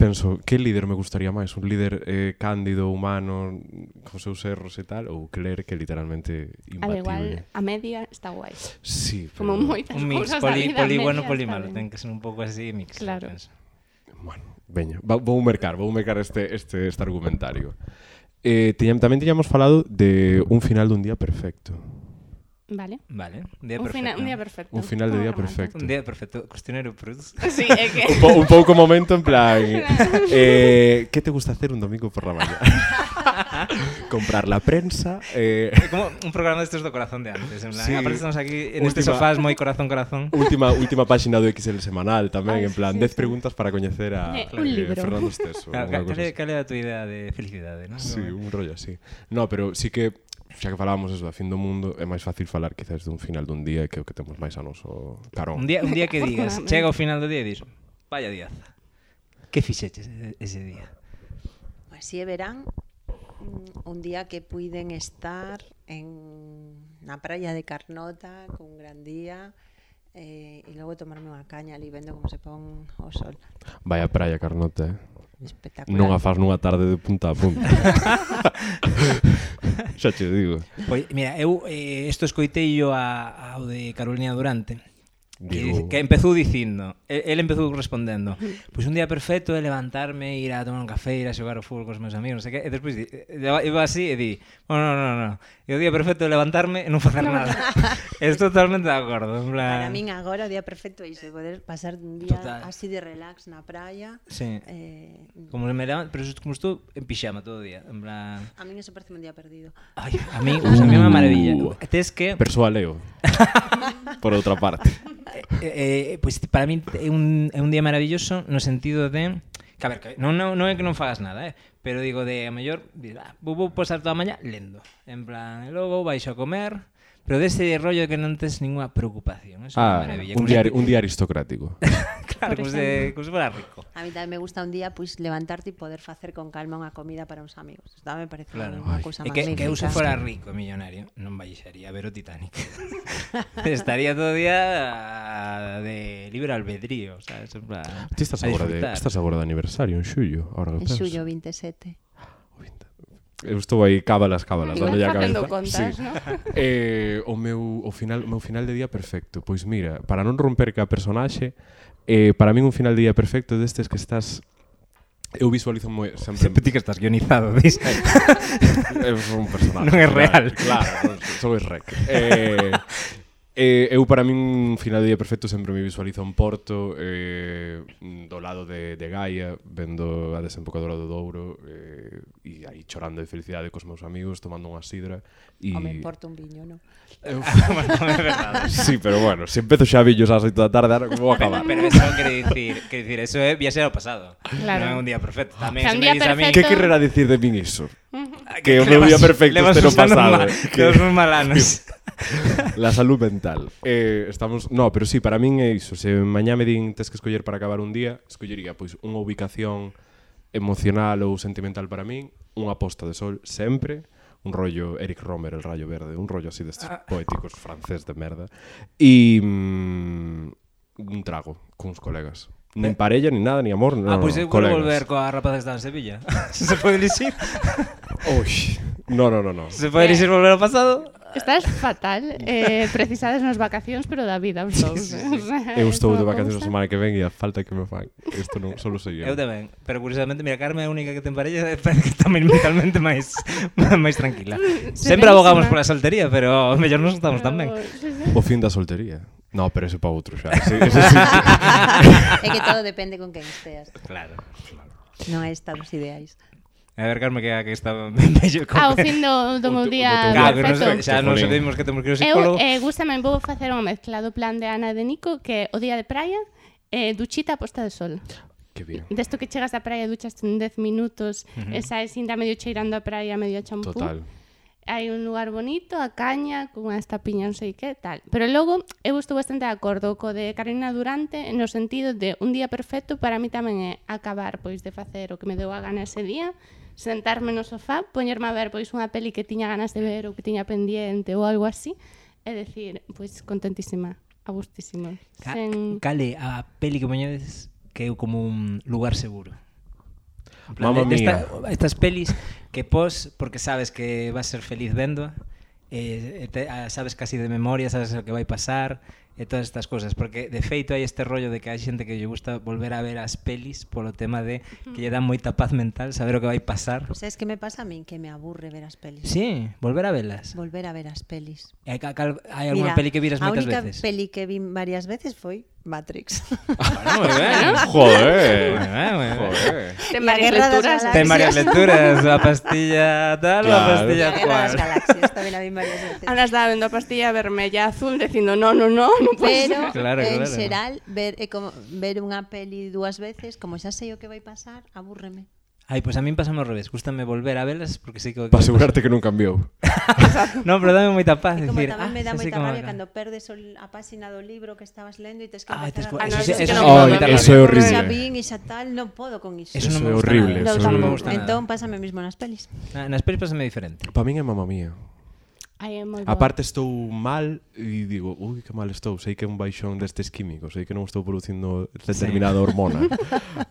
[SPEAKER 3] penso, que líder me gustaría máis? Un líder eh, cándido, humano, cos seus erros e tal? Ou Claire, que literalmente
[SPEAKER 2] Al
[SPEAKER 3] imbatible?
[SPEAKER 2] igual, a media está guai.
[SPEAKER 3] Sí, pero...
[SPEAKER 2] Como moitas
[SPEAKER 4] Un mix
[SPEAKER 2] cousas
[SPEAKER 4] poli,
[SPEAKER 2] da vida,
[SPEAKER 4] poli
[SPEAKER 2] a
[SPEAKER 4] bueno,
[SPEAKER 2] media
[SPEAKER 4] poli
[SPEAKER 2] está
[SPEAKER 4] malo.
[SPEAKER 2] ben.
[SPEAKER 4] Ten que ser un pouco así mix. eu
[SPEAKER 2] Claro.
[SPEAKER 4] penso.
[SPEAKER 3] Bueno, veña, va- vou mercar, vou mercar este, este, este argumentario. Eh, tiñam, tamén tiñamos falado de un final dun día perfecto.
[SPEAKER 2] Vale.
[SPEAKER 4] Vale. Un día
[SPEAKER 2] un,
[SPEAKER 4] perfecto.
[SPEAKER 2] fina- un día perfecto.
[SPEAKER 3] Un final de
[SPEAKER 2] Como
[SPEAKER 3] día
[SPEAKER 2] remata.
[SPEAKER 3] perfecto.
[SPEAKER 4] Un día perfecto. Cuestionario Prus.
[SPEAKER 2] Sí, é que...
[SPEAKER 3] Un, po, un pouco momento en plan eh, Que te gusta hacer un domingo por la mañana? Comprar la prensa eh,
[SPEAKER 4] Como un programa destes do corazón de antes. En plan,
[SPEAKER 3] Sí.
[SPEAKER 4] Aparte estamos aquí en este
[SPEAKER 3] Última-
[SPEAKER 4] sofás moi corazón corazón.
[SPEAKER 3] Última, última página do XL semanal tamén,
[SPEAKER 2] Ay,
[SPEAKER 3] en plan
[SPEAKER 2] sí,
[SPEAKER 3] 10
[SPEAKER 2] sí.
[SPEAKER 3] preguntas para coñecer a
[SPEAKER 2] Eh, un libro.
[SPEAKER 3] Fernando Esteso. unha
[SPEAKER 4] Cal, cal,
[SPEAKER 3] cousa
[SPEAKER 4] cal,
[SPEAKER 3] así.
[SPEAKER 4] é- cal é a tua idea de felicidade, non?
[SPEAKER 3] Sí, un rollo así. No, pero sí que xa que falábamos eso da fin do mundo, é máis fácil falar quizás dun final dun día que é o que temos máis a noso carón.
[SPEAKER 4] Un día, un día que digas,
[SPEAKER 2] Afortunadamente.
[SPEAKER 4] chega ao final do día e dis, vaya diaza. Que fixeches ese- ese día?
[SPEAKER 5] Así Pois verán mm, un día que puiden estar en la playa de Carnota con un gran día eh, y luego tomarme una caña ali vendo como se pon o sol.
[SPEAKER 3] Vai a praia, Carnota, eh?
[SPEAKER 5] Espectacular.
[SPEAKER 3] Non a faz nunha tarde de punta a punta. xa che digo.
[SPEAKER 4] Pois, mira, eu eh, esto escoitei yo a, ao de Carolina Durante que,
[SPEAKER 3] Digo-
[SPEAKER 4] dice- que empezou dicindo el, el empezou respondendo Pois un día perfecto é levantarme Ir a tomar un café, ir a xogar ao fútbol cos meus amigos non sei que, E despois di- e iba así e di Bueno, no, no, no E o día perfecto é levantarme e non facer nada Estou totalmente de acordo en plan...
[SPEAKER 5] Para min agora o día perfecto é iso, poder pasar un día
[SPEAKER 4] Total.
[SPEAKER 5] así de relax na praia.
[SPEAKER 4] sí.
[SPEAKER 5] Eh,
[SPEAKER 4] Como me levanto, pero como estou en pijama todo o día En plan...
[SPEAKER 5] a min eso parece un día perdido.
[SPEAKER 4] Ay, a mí, o sea, a mí me maravilla.
[SPEAKER 3] Uh.
[SPEAKER 4] Tes que
[SPEAKER 3] Persoa leo. Por outra parte.
[SPEAKER 4] eh, eh, pois para min é un, é un día maravilloso no sentido de que a ver, que non, non, non é que non fagas nada, eh, pero digo de a mellor, dis, ah, vou, vou pasar toda a mañá lendo, en plan, e logo baixo a comer, pero dese rollo que non tes ninguna preocupación, eso ah,
[SPEAKER 3] Ah,
[SPEAKER 4] é maravilla.
[SPEAKER 3] un
[SPEAKER 4] Como se-
[SPEAKER 3] día, un día aristocrático.
[SPEAKER 4] claro, como se, como se fuera rico.
[SPEAKER 5] A mí tamén me gusta un día pois levantarte e poder facer con calma unha comida para uns amigos. Isto me parece
[SPEAKER 4] Claro.
[SPEAKER 5] unha
[SPEAKER 3] Ai.
[SPEAKER 4] É
[SPEAKER 5] cousa
[SPEAKER 4] que, que eu se
[SPEAKER 5] magnífica.
[SPEAKER 4] fora rico e millonario non baixaría a ver o Titanic. Estaría todo o día ah, de libre albedrío, sabes? En plan,
[SPEAKER 3] Ti estás
[SPEAKER 4] a
[SPEAKER 3] agora de,
[SPEAKER 4] disfrutar.
[SPEAKER 3] estás agora de aniversario en xullo, ahora que
[SPEAKER 5] En
[SPEAKER 3] penso.
[SPEAKER 5] xullo 27.
[SPEAKER 3] Eu estou aí cábalas, cábalas,
[SPEAKER 2] Igual
[SPEAKER 3] dándolle a
[SPEAKER 2] facendo
[SPEAKER 3] cabeza.
[SPEAKER 2] contas,
[SPEAKER 3] sí.
[SPEAKER 2] non?
[SPEAKER 3] eh, o meu o final o meu final de día perfecto. Pois mira, para non romper ca personaxe, eh, para min un final de día perfecto destes que estás eu visualizo moi sempre
[SPEAKER 4] Sempre ti que estás guionizado, dis.
[SPEAKER 3] é un personaje.
[SPEAKER 4] Non é
[SPEAKER 3] claro,
[SPEAKER 4] real.
[SPEAKER 3] Claro, non, só é rec. Eh, eh, eu para min un final de día perfecto sempre me visualizo en Porto eh, do lado de, de Gaia vendo a desembocadura do Douro eh, e aí chorando de felicidade cos meus amigos tomando unha sidra e...
[SPEAKER 5] O me importa un viño, non?
[SPEAKER 3] Sí, pero bueno, se empezo xa villos ás 8 da tarde, ahora como vou acabar?
[SPEAKER 4] Pero eso non quere dicir, quere dicir, eso é viaxar ao pasado.
[SPEAKER 2] Claro.
[SPEAKER 4] Non é un día perfecto.
[SPEAKER 2] O
[SPEAKER 4] Tamén
[SPEAKER 2] sea,
[SPEAKER 4] se
[SPEAKER 2] un
[SPEAKER 4] me
[SPEAKER 2] día
[SPEAKER 4] dis a min
[SPEAKER 3] Que
[SPEAKER 2] perfecto.
[SPEAKER 3] querrera dicir de min iso?
[SPEAKER 4] Ay,
[SPEAKER 3] que o meu día perfecto
[SPEAKER 4] levas
[SPEAKER 3] este no
[SPEAKER 4] uns anos
[SPEAKER 3] pasado,
[SPEAKER 4] mal-
[SPEAKER 3] que-
[SPEAKER 4] Levas uns mal anos.
[SPEAKER 3] La salud mental. Eh, estamos, no, pero sí, para min é iso, se mañá me din tes que escoller para acabar un día, escollería pois unha ubicación emocional ou sentimental para min, unha posta de sol sempre, un rollo Eric Romer, el rayo verde, un rollo así destes poéticos francés de merda e mm, un trago cuns colegas. Nin parella, nin nada, ni amor,
[SPEAKER 4] Eh. ah,
[SPEAKER 3] no,
[SPEAKER 4] pois
[SPEAKER 3] no,
[SPEAKER 4] eu quero
[SPEAKER 3] colegas.
[SPEAKER 4] volver coa rapaz que está en Sevilla. se pode elixir?
[SPEAKER 3] Ui, no, no, no, no.
[SPEAKER 4] Se pode elixir volver ao pasado?
[SPEAKER 2] Estás fatal, eh, precisades nas vacacións, pero da vida os dous. eh, o sea,
[SPEAKER 3] Eu estou
[SPEAKER 2] é
[SPEAKER 3] de
[SPEAKER 2] unha
[SPEAKER 3] vacacións a
[SPEAKER 2] cousa.
[SPEAKER 3] semana que ven e a falta que me fan. Isto non, solo sei eu.
[SPEAKER 4] Eu tamén, pero curiosamente, mira, Carmen é a única que ten parella e parece que está mentalmente máis máis tranquila.
[SPEAKER 2] Se
[SPEAKER 4] Sempre
[SPEAKER 2] ven
[SPEAKER 4] abogamos
[SPEAKER 2] sonar.
[SPEAKER 4] pola soltería, pero ao mellor nos estamos tan ben.
[SPEAKER 2] Sí, sí.
[SPEAKER 3] O fin da soltería. No, pero ese para outro xa. Ese, ese sí.
[SPEAKER 5] É que todo depende con quen esteas.
[SPEAKER 4] Claro.
[SPEAKER 5] Non é estar os ideais.
[SPEAKER 4] A ver, Carmen, que, que está ben bello con
[SPEAKER 2] Ao Ah, fin do, do meu
[SPEAKER 3] O teu-
[SPEAKER 2] día
[SPEAKER 3] o teu día
[SPEAKER 4] Claro, que nos,
[SPEAKER 2] perfecto.
[SPEAKER 3] perfecto.
[SPEAKER 4] xa nos
[SPEAKER 3] Jolín.
[SPEAKER 4] sabemos que temos que ir ao
[SPEAKER 2] Eu
[SPEAKER 4] psicólogo.
[SPEAKER 2] eh, gustame, vou facer unha mezcla do plan de Ana e de Nico que é o día de praia, eh, duchita a posta de sol.
[SPEAKER 3] que bien.
[SPEAKER 2] Desto que chegas da praia, duchas en 10 minutos, uh -huh. e saes inda medio cheirando a praia, medio a champú.
[SPEAKER 3] Total.
[SPEAKER 2] Hai un lugar bonito, a caña, cunha estapiña, non sei que, tal. Pero logo, eu estou bastante de acordo co de Carolina Durante no sentido de un día perfecto para mí tamén é acabar pois de facer o que me deu a gana ese día, sentarme no sofá, poñerme a ver pois unha peli que tiña ganas de ver ou que tiña pendiente ou algo así, e decir, pois contentísima, a gustísimo.
[SPEAKER 4] Ca
[SPEAKER 2] Sen...
[SPEAKER 4] Cale, a peli que poñedes que é como un lugar seguro. En plan,
[SPEAKER 3] Mamma
[SPEAKER 4] de- de esta-
[SPEAKER 3] mía.
[SPEAKER 4] estas pelis que pos, porque sabes que vas a ser feliz vendo, eh, e te- ah, sabes casi de memoria, sabes o que vai pasar, e todas estas cosas. Porque, de feito, hai este rollo de que hai xente que lle gusta volver a ver as pelis polo tema de que lle dá moita paz mental, saber o que vai pasar.
[SPEAKER 5] Pois es que me pasa a min que me aburre ver as pelis.
[SPEAKER 4] Sí, volver a velas.
[SPEAKER 5] Volver a ver as pelis.
[SPEAKER 4] E ca- cal- Hai alguna peli que viras
[SPEAKER 5] a
[SPEAKER 4] moitas
[SPEAKER 5] única
[SPEAKER 4] veces.
[SPEAKER 5] peli que vi varias veces foi Matrix.
[SPEAKER 4] Bueno, moi ben. Moi
[SPEAKER 3] Joder.
[SPEAKER 4] ben, moi ben.
[SPEAKER 3] Joder.
[SPEAKER 2] Ten
[SPEAKER 5] La
[SPEAKER 2] varias
[SPEAKER 5] guerra das
[SPEAKER 2] lecturas.
[SPEAKER 5] galaxias.
[SPEAKER 4] Ten varias lecturas, a pastilla tal ou a
[SPEAKER 3] Claro.
[SPEAKER 4] pastilla
[SPEAKER 5] La Guerra das
[SPEAKER 4] cual.
[SPEAKER 5] Galaxias tamén a vi varias veces.
[SPEAKER 2] Ahora está vendo a pastilla vermella azul dicindo no, no, no, no puede ser.
[SPEAKER 5] Pero
[SPEAKER 4] Claro,
[SPEAKER 5] en
[SPEAKER 4] claro.
[SPEAKER 5] xeral ver é como ver unha peli dúas veces, como xa sei o que vai pasar, abúrreme.
[SPEAKER 4] Ai, pois pues a min pasame ao revés. Gústame volver a velas porque sei que...
[SPEAKER 3] Para asegurarte que non cambiou.
[SPEAKER 4] No, pero dame moita paz.
[SPEAKER 5] E como
[SPEAKER 4] decir,
[SPEAKER 5] tamén me
[SPEAKER 4] ah,
[SPEAKER 5] dá
[SPEAKER 4] xa sei
[SPEAKER 5] moita
[SPEAKER 4] como
[SPEAKER 5] rabia
[SPEAKER 4] acaba.
[SPEAKER 5] cando perdes o, a páxina do libro que estabas lendo e tes que
[SPEAKER 4] Ah, tes
[SPEAKER 5] empezar
[SPEAKER 4] que-
[SPEAKER 5] a
[SPEAKER 2] eso
[SPEAKER 5] ler.
[SPEAKER 2] sí- Ah, no, eso sí que eso no
[SPEAKER 5] Xa
[SPEAKER 2] puedo
[SPEAKER 3] Ay,
[SPEAKER 2] ver.
[SPEAKER 3] eso es horrible.
[SPEAKER 5] vin e xa tal, non podo con iso.
[SPEAKER 4] Eso,
[SPEAKER 3] Eso
[SPEAKER 4] non me
[SPEAKER 3] é
[SPEAKER 4] gusta
[SPEAKER 3] horrible,
[SPEAKER 4] nada.
[SPEAKER 3] eso
[SPEAKER 4] Eso non me
[SPEAKER 3] horrible.
[SPEAKER 4] gusta nada.
[SPEAKER 5] Entón pásame mesmo nas pelis.
[SPEAKER 4] Na- Nas pelis pásame diferente.
[SPEAKER 3] Para min é mamá mía.
[SPEAKER 2] Ai, é moi boa.
[SPEAKER 3] Aparte estou mal e digo, ui, que mal estou, sei que é un baixón destes químicos, sei que non estou producindo determinada hormona.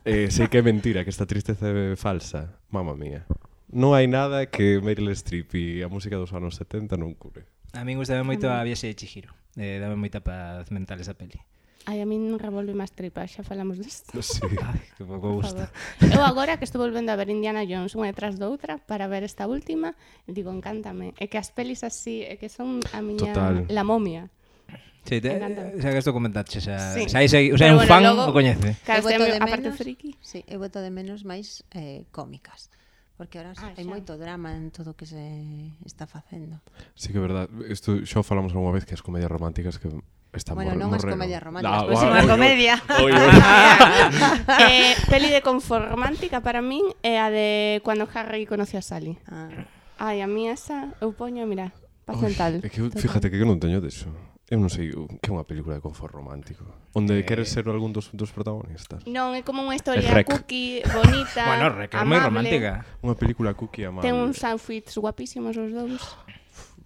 [SPEAKER 3] eh, sei que é mentira, que esta tristeza é falsa. Mamma mía. Non hai nada que Meryl Streep e a música dos anos 70 non cure.
[SPEAKER 4] A min gustame moito a viaxe de Chihiro. Eh, dame moita paz mental esa peli.
[SPEAKER 2] Ai, a min revolve máis tripas, xa falamos disto.
[SPEAKER 3] Sí.
[SPEAKER 4] Ai, que pouco
[SPEAKER 2] Por
[SPEAKER 4] gusta.
[SPEAKER 2] favor. Eu agora que estou volvendo a ver Indiana Jones unha detrás da outra para ver esta última, digo, encántame. É que as pelis así, é que son a miña
[SPEAKER 3] Total.
[SPEAKER 2] la momia.
[SPEAKER 4] Sí, te,
[SPEAKER 2] Encántame.
[SPEAKER 4] xa que estou comentaxe, xa,
[SPEAKER 2] Sí.
[SPEAKER 4] xa, xa, xa, xa
[SPEAKER 2] Pero
[SPEAKER 4] un
[SPEAKER 2] bueno,
[SPEAKER 4] fan
[SPEAKER 2] logo-
[SPEAKER 4] o coñece.
[SPEAKER 2] Claro,
[SPEAKER 5] Eu voto
[SPEAKER 2] este,
[SPEAKER 5] de
[SPEAKER 2] aparte
[SPEAKER 5] menos-
[SPEAKER 2] friki.
[SPEAKER 5] Sí, eu voto de menos máis eh, cómicas. Porque ahora
[SPEAKER 2] Ah,
[SPEAKER 5] hai
[SPEAKER 2] xa.
[SPEAKER 5] moito drama en todo o que se está facendo.
[SPEAKER 3] Sí que é verdad. Isto xa o falamos algunha vez que as comedias románticas que están
[SPEAKER 5] Bueno,
[SPEAKER 3] mor-
[SPEAKER 5] non as
[SPEAKER 3] morrendo.
[SPEAKER 5] comedias románticas,
[SPEAKER 3] Ah,
[SPEAKER 5] pois
[SPEAKER 3] ah,
[SPEAKER 5] unha
[SPEAKER 3] oi, oi.
[SPEAKER 5] comedia.
[SPEAKER 3] Oi, oi.
[SPEAKER 2] eh, peli de conformántica para min é a de cando Harry conoce a Sally.
[SPEAKER 5] Ah.
[SPEAKER 2] Ai, a mí esa eu poño, mira, paz
[SPEAKER 3] Ui,
[SPEAKER 2] mental.
[SPEAKER 3] É que, eu-
[SPEAKER 2] Total.
[SPEAKER 3] fíjate que eu non teño deso. Eu non sei o- que é unha película de confort romántico. Onde
[SPEAKER 4] Eh.
[SPEAKER 3] queres ser algún dos, dos protagonistas.
[SPEAKER 2] Non, é como unha historia
[SPEAKER 3] Rec.
[SPEAKER 2] cookie, bonita,
[SPEAKER 4] Bueno, Rec, é moi
[SPEAKER 2] amable.
[SPEAKER 4] romántica.
[SPEAKER 3] Unha película cookie amable.
[SPEAKER 2] Ten uns outfits guapísimos os dous.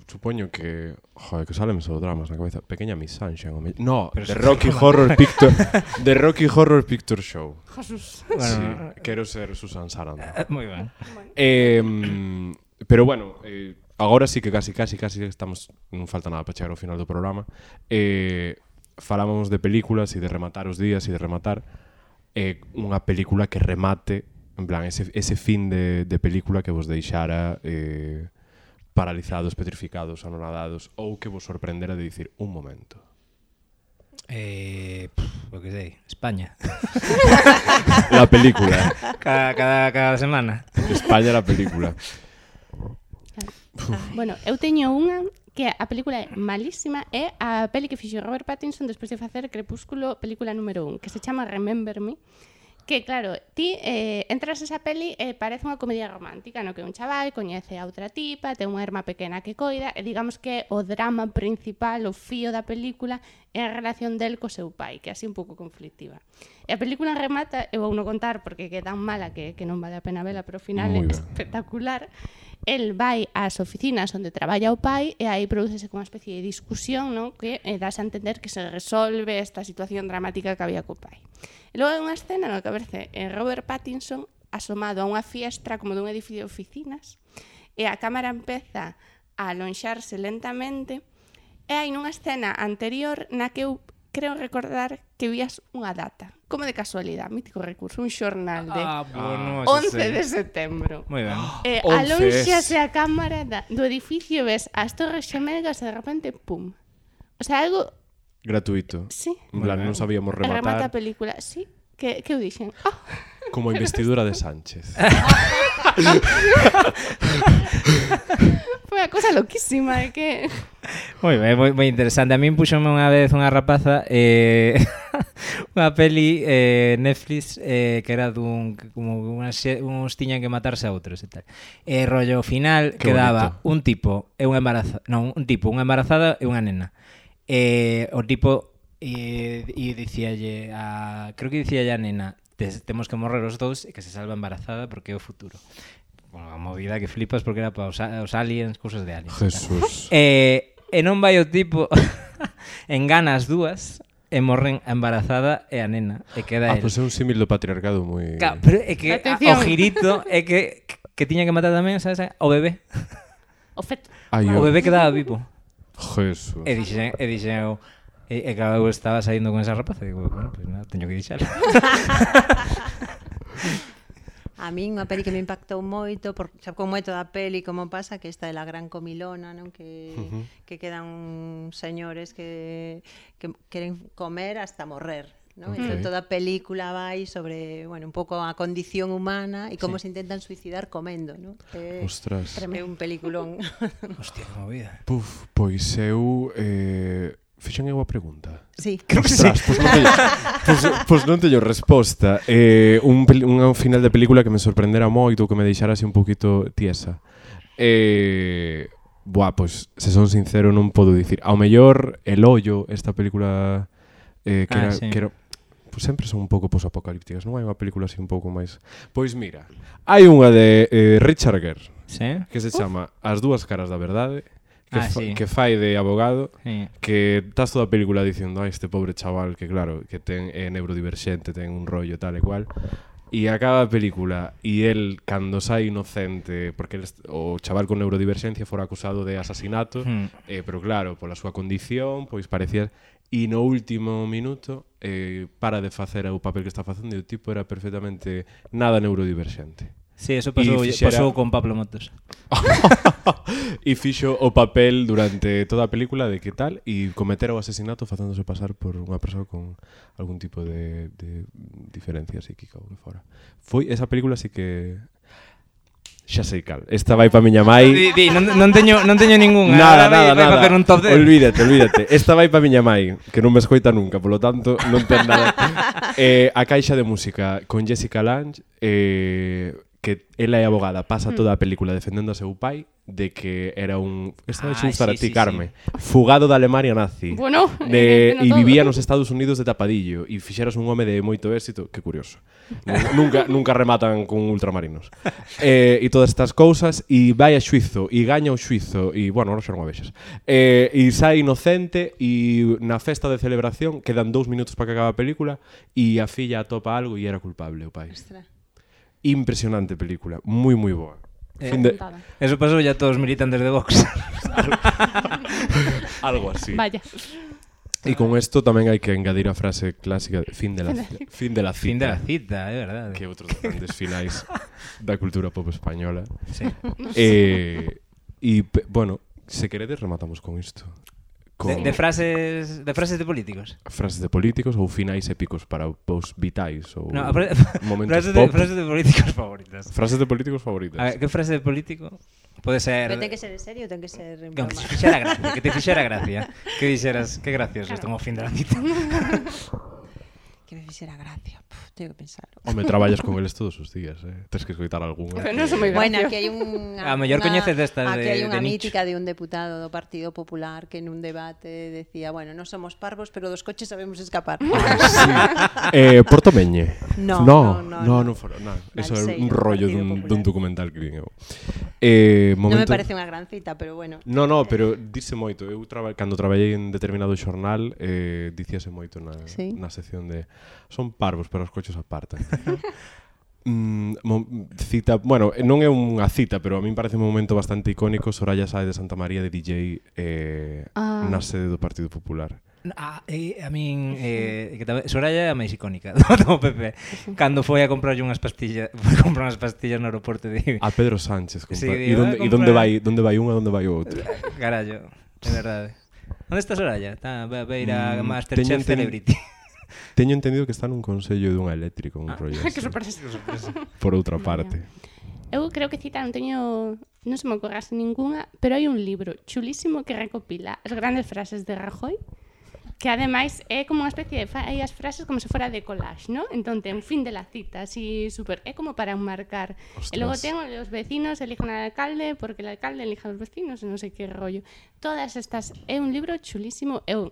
[SPEAKER 3] Supoño que... Joder, que salen só dramas na cabeza. Pequeña Miss Sunshine. o me- No,
[SPEAKER 4] Pero
[SPEAKER 3] The
[SPEAKER 4] eso
[SPEAKER 3] Rocky Horror Picture... The Rocky Horror Picture Show.
[SPEAKER 2] Jesús.
[SPEAKER 4] Bueno,
[SPEAKER 3] Sí, quero ser Susan Sarandon.
[SPEAKER 4] eh, moi ben.
[SPEAKER 3] Eh, pero bueno, eh, agora sí que casi, casi, casi estamos... Non falta nada para chegar ao final do programa. Eh, falábamos de películas e de rematar os días e de rematar eh, unha película que remate en plan, ese, ese fin de, de película que vos deixara eh, paralizados, petrificados, anonadados ou que vos sorprendera de dicir un momento.
[SPEAKER 4] Eh, pff, o que sei, España.
[SPEAKER 3] La película.
[SPEAKER 4] Cada, cada, cada semana.
[SPEAKER 3] España la película.
[SPEAKER 2] Bueno, eu teño unha que a película é malísima é a peli que fixo Robert Pattinson despois de facer Crepúsculo, película número 1, que se chama Remember Me, que claro, ti eh, entras a esa peli e eh, parece unha comedia romántica, no que un chaval coñece a outra tipa, ten unha herma pequena que coida, e digamos que o drama principal, o fío da película, é a relación del co seu pai, que é así un pouco conflictiva. E a película remata, eu vou non contar porque que é tan mala que, que non vale a pena vela, pero ao final é
[SPEAKER 3] Moi ben.
[SPEAKER 2] espectacular. El vai ás oficinas onde traballa o pai e aí producese como unha especie de discusión non? que eh, das a entender que se resolve esta situación dramática que había co pai. E logo hai unha escena no que aparece eh, Robert Pattinson asomado a unha fiestra como dun edificio de oficinas e a cámara empeza a alonxarse lentamente e hai nunha escena anterior na que eu creo recordar que vías unha data, como de casualidade, mítico recurso, un xornal de
[SPEAKER 4] bueno,
[SPEAKER 2] 11 de setembro.
[SPEAKER 4] Moi ben.
[SPEAKER 2] Eh,
[SPEAKER 3] 11
[SPEAKER 2] alónxase a cámara da, do edificio, ves as torres xemelgas e de repente, pum. O sea, algo,
[SPEAKER 3] Gratuito.
[SPEAKER 2] sí,
[SPEAKER 3] En plan, non sabíamos
[SPEAKER 2] remata a
[SPEAKER 3] rematar
[SPEAKER 2] película, sí, que, que eu dixen, ah,
[SPEAKER 3] como a investidura de Sánchez.
[SPEAKER 2] foi a cosa loquísima, é que...
[SPEAKER 4] Moi ben, moi, moi interesante. A min puxome unha vez unha rapaza eh, unha peli eh, Netflix eh, que era dun como unha, xe- uns tiñan que matarse a outros e tal. E rollo final
[SPEAKER 3] Que
[SPEAKER 4] que quedaba
[SPEAKER 3] bonito.
[SPEAKER 4] un tipo e unha embarazada, non, un tipo, unha embarazada e unha nena. E o tipo e, e dicíalle a creo que dicíalle a nena, "Tes- temos que morrer os dous e que se salva a embarazada porque é o futuro. Bueno, a movida que flipas porque era para os, a- os aliens, cousas de aliens. e tal.
[SPEAKER 3] Jesús.
[SPEAKER 4] E, e non vai o tipo en ganas dúas e morren a embarazada e a nena. E queda
[SPEAKER 3] Ah, eh,
[SPEAKER 4] el.
[SPEAKER 3] pois é un símil do patriarcado moi...
[SPEAKER 4] Ca- Pero é que a-
[SPEAKER 2] Atención.
[SPEAKER 4] o girito é que que tiña que matar tamén, sabes, o bebé.
[SPEAKER 2] O feto.
[SPEAKER 3] Ai, oh.
[SPEAKER 4] O
[SPEAKER 3] o
[SPEAKER 4] bebé quedaba vivo.
[SPEAKER 3] Jesús.
[SPEAKER 4] E dixen, e dixen eu, e, e claro, eu estaba saindo con esa rapaza, e digo, bueno, pues nada, teño que deixar.
[SPEAKER 5] A min unha peli que me impactou moito, por, xa como é toda a peli, como pasa, que esta é la gran comilona, non? Que, uh -huh. que quedan señores que, que queren comer hasta morrer. ¿no?
[SPEAKER 3] Ok.
[SPEAKER 5] Entón, toda a película vai sobre, bueno, un pouco a condición humana e como sí. se intentan suicidar comendo, ¿no? É,
[SPEAKER 3] Ostras.
[SPEAKER 5] é un peliculón.
[SPEAKER 4] Hostia, que movida.
[SPEAKER 3] Puf, pois eu... Eh... Fixen eu a pregunta.
[SPEAKER 5] sí.
[SPEAKER 4] Creo que sí.
[SPEAKER 3] Ostras, pois non teño, pois, pois non teño resposta. Eh, un, pel- unha final de película que me sorprendera moito, que me deixara así un poquito tiesa. Eh, buah, pois, se son sincero, non podo dicir. Ao mellor, El Ollo, esta película eh, que,
[SPEAKER 4] Ah,
[SPEAKER 3] era,
[SPEAKER 4] sí.
[SPEAKER 3] que era, Pois sempre son un pouco posapocalípticas, non hai unha película así un pouco máis... Pois mira, hai unha de eh, Richard Gere
[SPEAKER 4] Sí?
[SPEAKER 3] que se chama As dúas caras da verdade, que,
[SPEAKER 4] Ah,
[SPEAKER 3] fa,
[SPEAKER 4] sí.
[SPEAKER 3] que fai de abogado
[SPEAKER 4] Sí.
[SPEAKER 3] que estás toda a película dicindo, ai, este pobre chaval que claro, que ten é neurodiverxente, ten un rollo tal e cual. E acaba a película e el cando sai inocente, porque el, est- o chaval con neurodiverxencia fora acusado de asasinato,
[SPEAKER 4] Hmm.
[SPEAKER 3] eh, pero claro, pola súa condición, pois parecía e no último minuto eh, para de facer o papel que está facendo e o tipo era perfectamente nada neurodiverxente.
[SPEAKER 4] Sí, eso pasou,
[SPEAKER 3] E fixera-
[SPEAKER 4] pasou con Pablo Motos.
[SPEAKER 3] E fixo o papel durante toda a película de que tal e cometera o asesinato facéndose pasar por unha persoa con algún tipo de, de diferencia psíquica ou que fora. Foi esa película así que xa sei cal. Esta vai pa miña
[SPEAKER 4] Di,
[SPEAKER 3] mai.
[SPEAKER 4] di, non, non teño non teño ninguna.
[SPEAKER 3] Nada,
[SPEAKER 4] Ahora
[SPEAKER 3] nada,
[SPEAKER 4] vai- vai
[SPEAKER 3] nada.
[SPEAKER 4] facer un top de...
[SPEAKER 3] Olvídate, olvídate. Esta vai pa miña mai, que non me escoita nunca, polo tanto, non ten nada. eh, a caixa de música con Jessica Lange, eh, que ela é abogada, pasa
[SPEAKER 4] Mm.
[SPEAKER 3] toda a película defendendo a seu pai de que era un... Esta vai
[SPEAKER 4] Ah,
[SPEAKER 3] ah, para ti,
[SPEAKER 4] sí, sí,
[SPEAKER 3] Carme. Fugado da Alemania nazi.
[SPEAKER 2] Bueno,
[SPEAKER 3] Eh,
[SPEAKER 2] eh,
[SPEAKER 3] de,
[SPEAKER 2] entiendo
[SPEAKER 3] e
[SPEAKER 2] todo.
[SPEAKER 3] vivía nos Estados Unidos de tapadillo e fixeras un home de moito éxito, que curioso. Nu- nunca nunca rematan con ultramarinos. Eh, e todas estas cousas e vai a xuizo e gaña o xuizo e bueno, non xa non a vexas. Eh, e sai inocente e na festa de celebración quedan dous minutos para que acabe a película e a filla atopa algo e era culpable o pai.
[SPEAKER 5] Ostras.
[SPEAKER 3] Impresionante película, moi moi boa.
[SPEAKER 4] Eh,
[SPEAKER 3] Fin de,
[SPEAKER 4] Eso pasou ya todos os militantes de Vox.
[SPEAKER 3] algo así.
[SPEAKER 2] Vaya.
[SPEAKER 3] E con isto tamén hai que engadir a frase clásica de fin de la fin de la
[SPEAKER 4] fin de
[SPEAKER 3] cita.
[SPEAKER 4] la cita, é verdade.
[SPEAKER 3] que é outro dos grandes finais da cultura pop española.
[SPEAKER 4] Sí.
[SPEAKER 3] Eh, e, pe- bueno, se queredes rematamos con isto.
[SPEAKER 4] De,
[SPEAKER 3] Con
[SPEAKER 4] de, frases de frases de políticos.
[SPEAKER 3] frases de políticos ou finais épicos para os vitais ou
[SPEAKER 4] No, a fra-
[SPEAKER 3] momentos
[SPEAKER 4] frases, de,
[SPEAKER 3] pop.
[SPEAKER 4] frases de políticos favoritas.
[SPEAKER 3] Frases de políticos favoritas.
[SPEAKER 4] A ver, que frase de político pode ser...
[SPEAKER 5] Pero ten que ser en serio, ten que ser en
[SPEAKER 4] Que aunque te
[SPEAKER 5] broma.
[SPEAKER 4] fixera gracia, que te fixera gracia. Que dixeras, que gracioso, claro. estamos fin de la cita.
[SPEAKER 5] Que me fixera gracia. Puf, tengo que pensarlo.
[SPEAKER 3] Home, traballas con eles todos os días, eh. Tens que escoitar eh. algunha.
[SPEAKER 2] Pero non son moi
[SPEAKER 5] Bueno,
[SPEAKER 2] Gracias.
[SPEAKER 5] aquí hai un
[SPEAKER 4] A mellor coñeces destas
[SPEAKER 5] Aquí
[SPEAKER 4] de-
[SPEAKER 5] hai unha
[SPEAKER 4] de nicho.
[SPEAKER 5] mítica de un deputado do Partido Popular que nun debate decía, bueno, non somos parvos, pero dos coches sabemos escapar.
[SPEAKER 4] Ah,
[SPEAKER 3] Eh, Portomeñe.
[SPEAKER 5] No,
[SPEAKER 3] no, no,
[SPEAKER 5] no, no,
[SPEAKER 3] no,
[SPEAKER 5] no.
[SPEAKER 3] fora, no. Eso é
[SPEAKER 5] Balseiro,
[SPEAKER 3] un rollo
[SPEAKER 5] Partido
[SPEAKER 3] dun,
[SPEAKER 5] Popular.
[SPEAKER 3] dun documental que vin eu. Eh,
[SPEAKER 5] non
[SPEAKER 3] momento...
[SPEAKER 5] me parece unha gran cita, pero bueno.
[SPEAKER 3] No, no, pero dice moito. Eu traba, cando traballei en determinado xornal, eh, dicíase moito na,
[SPEAKER 5] Sí.
[SPEAKER 3] na sección de son parvos, pero os coches apartan. mm, mo, cita, bueno, eh, non é unha cita, pero a min parece un momento bastante icónico Soraya Sae de Santa María de DJ eh,
[SPEAKER 2] Ah.
[SPEAKER 3] na sede do Partido Popular.
[SPEAKER 4] Ah, eh, a min eh, que tamén, Soraya é a máis icónica do PP. Cando foi a comprarlle unhas pastillas, foi comprar unhas pastillas no aeroporto de
[SPEAKER 3] A Pedro Sánchez, compa.
[SPEAKER 4] Sí,
[SPEAKER 3] e
[SPEAKER 4] digo,
[SPEAKER 3] donde,
[SPEAKER 4] eh,
[SPEAKER 3] e donde
[SPEAKER 4] compra-
[SPEAKER 3] vai, donde vai unha, donde vai outra.
[SPEAKER 4] Carallo, é verdade. Onde está Soraya? Está vai vai ir a
[SPEAKER 3] Mm,
[SPEAKER 4] Masterchef
[SPEAKER 3] teño enten-
[SPEAKER 4] Celebrity.
[SPEAKER 3] Teño entendido que está nun consello dunha eléctrica, un rollo
[SPEAKER 2] Que
[SPEAKER 3] así,
[SPEAKER 2] sorpresa.
[SPEAKER 3] por outra parte.
[SPEAKER 2] Eu creo que cita non teño non se me ocorrase ningunha, pero hai un libro chulísimo que recopila as grandes frases de Rajoy que ademais é como unha especie de fa- hai as frases como se fora de collage, ¿no? Entón ten fin de la cita, así super, é como para enmarcar. E logo ten
[SPEAKER 3] Ostras.
[SPEAKER 2] o de os vecinos eligen al alcalde porque el alcalde elija a los vecinos, e non sei que rollo. Todas estas é un libro chulísimo, eu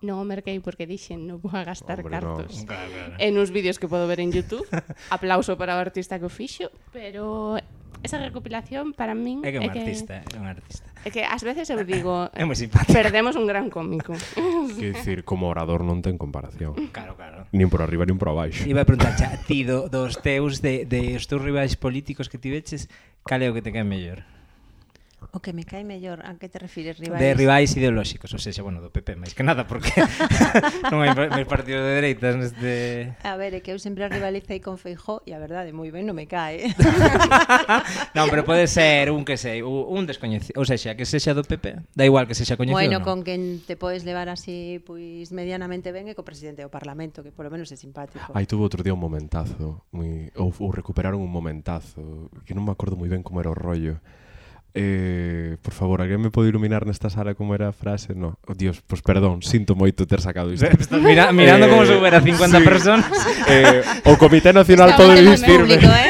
[SPEAKER 2] non o merquei porque dixen non vou a gastar
[SPEAKER 3] Hombre, no.
[SPEAKER 2] cartos en uns vídeos que podo ver en YouTube. Aplauso para o artista que o fixo, pero esa recopilación para min
[SPEAKER 4] É que é un
[SPEAKER 2] que- Eh,
[SPEAKER 4] artista, é un artista.
[SPEAKER 2] É que ás veces eu digo, eh,
[SPEAKER 4] É moi simpático.
[SPEAKER 2] perdemos un gran cómico.
[SPEAKER 3] Quer dicir, como orador non ten comparación.
[SPEAKER 4] Claro, claro.
[SPEAKER 3] Nin por arriba, nin por abaixo.
[SPEAKER 4] Iba a preguntar xa, ti do, dos teus, de, de os teus rivais políticos que ti veches, cal é o que te cae mellor?
[SPEAKER 5] O que me cae mellor, a que te refires, rivais?
[SPEAKER 4] De rivais ideolóxicos, ou seja, bueno, do PP, máis que nada, porque non hai máis partidos de dereitas neste...
[SPEAKER 5] A ver, é que eu sempre rivalicei con Feijó e a verdade, moi ben, non me cae.
[SPEAKER 4] Non, pero pode ser un que sei, u- un descoñecido, ou sexa, que sexa do PP, da igual que sexa coñecido
[SPEAKER 5] bueno,
[SPEAKER 4] ou non.
[SPEAKER 5] con quen te podes levar así pois medianamente ben é co presidente do Parlamento, que polo menos é simpático.
[SPEAKER 3] Aí tuvo outro día un momentazo moi, ou, ou recuperaron un momentazo Que non me acordo moi ben como era o rollo eh, Por favor, alguén me pode iluminar nesta sala como era a frase? No, oh, Dios, pois perdón, sinto moito ter sacado isto
[SPEAKER 4] Estás mira, mirando como se houbera 50
[SPEAKER 3] sí.
[SPEAKER 4] personas.
[SPEAKER 3] eh, O Comité Nacional
[SPEAKER 2] Estaba
[SPEAKER 3] pode
[SPEAKER 2] en el
[SPEAKER 3] dicirme
[SPEAKER 5] Público, eh?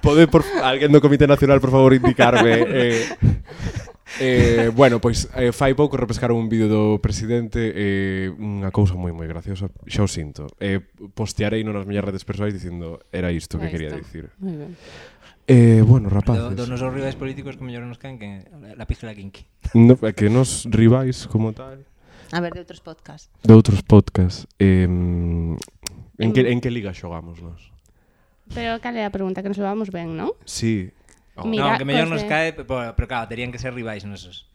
[SPEAKER 3] Pode por alguén do Comité Nacional, por favor, indicarme eh, Eh, bueno, pois eh, fai pouco repescaron un vídeo do presidente eh, unha cousa moi moi graciosa xa o sinto eh, postearei nas miñas redes persoais dicindo era isto
[SPEAKER 2] Era
[SPEAKER 3] que quería
[SPEAKER 2] isto.
[SPEAKER 3] dicir
[SPEAKER 2] Muy ben.
[SPEAKER 3] Eh, bueno,
[SPEAKER 4] Do,
[SPEAKER 3] rapaces.
[SPEAKER 4] dos nosos rivais políticos que mellor nos caen que la pijela kinky.
[SPEAKER 3] No, é que nos rivais como tal
[SPEAKER 5] A ver, de outros podcast.
[SPEAKER 3] de outros podcast. Eh, en que en que liga xogamos nós?
[SPEAKER 2] Pero cal é a pregunta que nos levamos ben, non?
[SPEAKER 3] Sí. Oh.
[SPEAKER 2] Mi-
[SPEAKER 4] Mira,
[SPEAKER 2] Mira,
[SPEAKER 4] no, que mellor
[SPEAKER 2] pois
[SPEAKER 4] nos
[SPEAKER 2] é.
[SPEAKER 4] cae, pero, pero claro, terían que ser rivais nosos.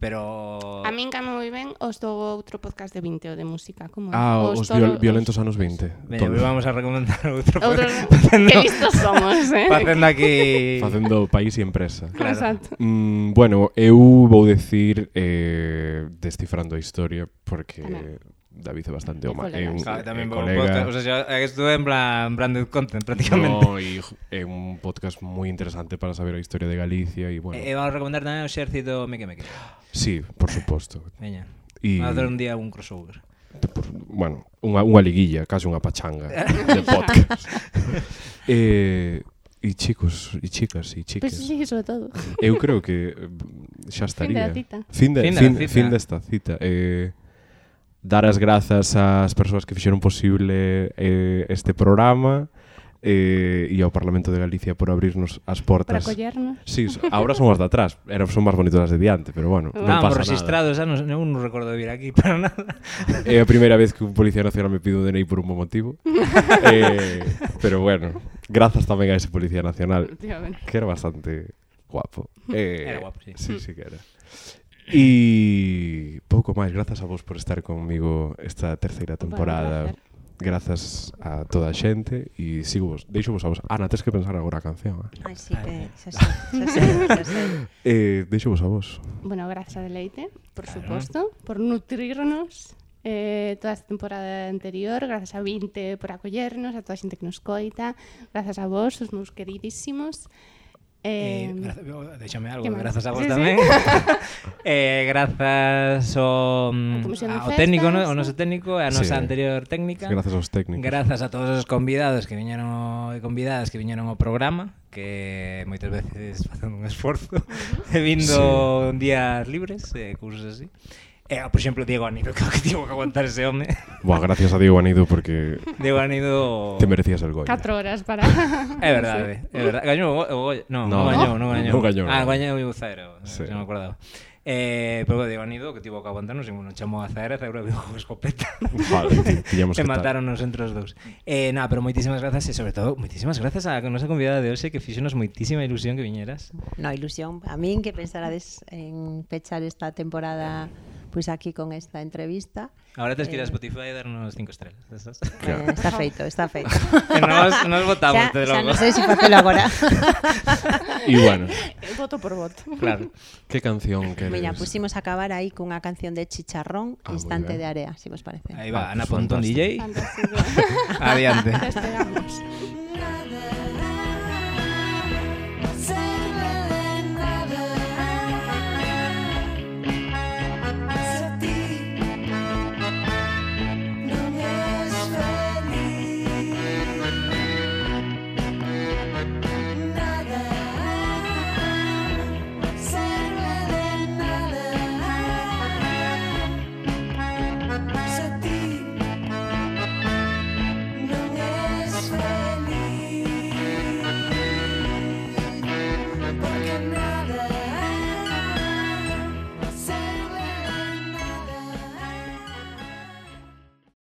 [SPEAKER 4] Pero
[SPEAKER 2] A min came moi ben os do outro podcast de 20 o de música, como
[SPEAKER 3] Ah, os,
[SPEAKER 2] toro-
[SPEAKER 3] viol- violentos anos 20.
[SPEAKER 4] Veña,
[SPEAKER 3] Todos.
[SPEAKER 4] vamos a recomendar outro.
[SPEAKER 2] Outros, que
[SPEAKER 4] facendo,
[SPEAKER 2] listos somos, eh?
[SPEAKER 4] facendo aquí
[SPEAKER 3] Facendo país e empresa.
[SPEAKER 4] Claro.
[SPEAKER 2] Exacto.
[SPEAKER 3] Mm, bueno, eu vou decir eh, descifrando a historia porque
[SPEAKER 2] Tamén.
[SPEAKER 3] David é
[SPEAKER 2] É
[SPEAKER 3] bastante o ma- é
[SPEAKER 2] colega,
[SPEAKER 3] un
[SPEAKER 4] Claro, tamén
[SPEAKER 3] é eh,
[SPEAKER 4] vou
[SPEAKER 3] colega.
[SPEAKER 4] podcast, o sea, xa- é que estuve en plan branded content prácticamente.
[SPEAKER 3] No, e jo- é un podcast moi interesante para saber a historia de Galicia e bueno.
[SPEAKER 4] E, e Eh, vamos a recomendar tamén o Xército Meque Meque.
[SPEAKER 3] sí, por suposto.
[SPEAKER 4] Veña.
[SPEAKER 3] Y-
[SPEAKER 4] Vamos a hacer un día un crossover.
[SPEAKER 3] bueno, unha, unha liguilla, case unha pachanga de podcast. eh, e chicos, e chicas, e
[SPEAKER 2] Pois
[SPEAKER 3] chiques.
[SPEAKER 2] sí, sobre todo.
[SPEAKER 3] Eu creo que mm, xa estaría.
[SPEAKER 2] da cita.
[SPEAKER 3] Fin, de, fin,
[SPEAKER 4] Fin da
[SPEAKER 3] fin,
[SPEAKER 4] cita.
[SPEAKER 3] fin desta cita. Eh, dar as grazas ás persoas que fixeron posible eh, este programa eh, e ao Parlamento de Galicia por abrirnos as
[SPEAKER 2] Para
[SPEAKER 3] portas.
[SPEAKER 2] collernos.
[SPEAKER 3] Sí, so- ahora son as de atrás, era, son máis bonitas as de diante, pero bueno, non
[SPEAKER 4] Estábamos
[SPEAKER 3] pasa nada.
[SPEAKER 4] registrados, xa non, eu non recordo vir aquí para nada.
[SPEAKER 3] É a primeira vez que un Policía Nacional me pide un DNI por un bo motivo. eh, pero bueno, grazas tamén a ese Policía Nacional.
[SPEAKER 2] Efectivamente.
[SPEAKER 3] que era bastante guapo. Eh,
[SPEAKER 4] Era guapo, sí. Mm.
[SPEAKER 3] Sí, sí que era. E pouco máis, grazas a vos por estar comigo esta terceira temporada.
[SPEAKER 2] placer.
[SPEAKER 3] Grazas a toda a xente e sigo vos, deixo vos a vos. Ana, tens que pensar agora a canción. Eh?
[SPEAKER 5] Ai, sí que, xa sei, xa sei, xa sei.
[SPEAKER 3] Eh, deixo vos a vos.
[SPEAKER 2] Bueno, gracias a Deleite, por supuesto, por nutrirnos eh, toda esta temporada anterior, gracias a 20 por acollernos, a toda a xente que nos coita, gracias a vos, os meus queridísimos.
[SPEAKER 4] Eh, oh,
[SPEAKER 2] Eh,
[SPEAKER 4] graza- déxame algo,
[SPEAKER 2] que máis?
[SPEAKER 4] grazas a
[SPEAKER 2] Sí,
[SPEAKER 4] vos
[SPEAKER 2] sí.
[SPEAKER 4] tamén. eh, grazas ao,
[SPEAKER 2] A comisión de
[SPEAKER 4] ao
[SPEAKER 2] festas,
[SPEAKER 4] técnico, no?
[SPEAKER 2] ¿no?
[SPEAKER 4] ao noso técnico, e a nosa
[SPEAKER 3] Sí.
[SPEAKER 4] anterior técnica.
[SPEAKER 3] Grazas aos técnicos.
[SPEAKER 4] Grazas a todos os convidados que viñeron ao- e convidadas que viñeron ao programa, que moitas veces facendo un esforzo e vindo sí. días libres, eh, cursos así. Eh, por exemplo, Diego Anido, creo que tivo que aguantar ese home.
[SPEAKER 3] Boa, gracias a Diego Anido porque
[SPEAKER 4] Diego Anido...
[SPEAKER 3] te merecías el Goya.
[SPEAKER 2] 4 horas para...
[SPEAKER 4] É verdade, é verdade. Gañou o Go- o Goya. No,
[SPEAKER 3] No,
[SPEAKER 4] non gañou, non gañou.
[SPEAKER 3] non gañou.
[SPEAKER 4] Ah, gañou o Zaero,
[SPEAKER 3] Sí.
[SPEAKER 4] sí. non me acordaba. Eh, pero de Anido, que tivo que aguantarnos, e non chamou a Zaero, Zaero viu con escopeta.
[SPEAKER 3] Vale, ti- tiñamos que
[SPEAKER 4] e
[SPEAKER 3] estar.
[SPEAKER 4] mataron nos entre os dous. Eh, nada, pero moitísimas grazas e sobre todo moitísimas grazas a nosa convidada de hoxe que fixonos moitísima ilusión que viñeras.
[SPEAKER 5] No, ilusión. A min que pensarades en pechar esta temporada pois aquí con esta entrevista.
[SPEAKER 4] Ahora tes que ir a
[SPEAKER 5] Eh.
[SPEAKER 4] Spotify e darnos cinco estrelas, esas.
[SPEAKER 3] Claro.
[SPEAKER 5] Eh, está feito, está feito.
[SPEAKER 4] que nos, nos votamos,
[SPEAKER 5] xa,
[SPEAKER 4] desde
[SPEAKER 5] xa
[SPEAKER 4] logo.
[SPEAKER 5] non sei se facelo agora.
[SPEAKER 3] E bueno,
[SPEAKER 2] voto por voto.
[SPEAKER 4] Claro.
[SPEAKER 3] que canción queres?
[SPEAKER 5] Miña, pusimos a acabar aí cunha canción de Chicharrón,
[SPEAKER 3] Ah, moi
[SPEAKER 5] Instante
[SPEAKER 3] ben.
[SPEAKER 5] de Area, se vos parece.
[SPEAKER 4] Aí
[SPEAKER 3] Ah,
[SPEAKER 4] va, Ana
[SPEAKER 3] pues
[SPEAKER 4] Pontón
[SPEAKER 3] fantástico.
[SPEAKER 4] DJ.
[SPEAKER 2] Fantástico.
[SPEAKER 4] Adiante.
[SPEAKER 2] Despegamos.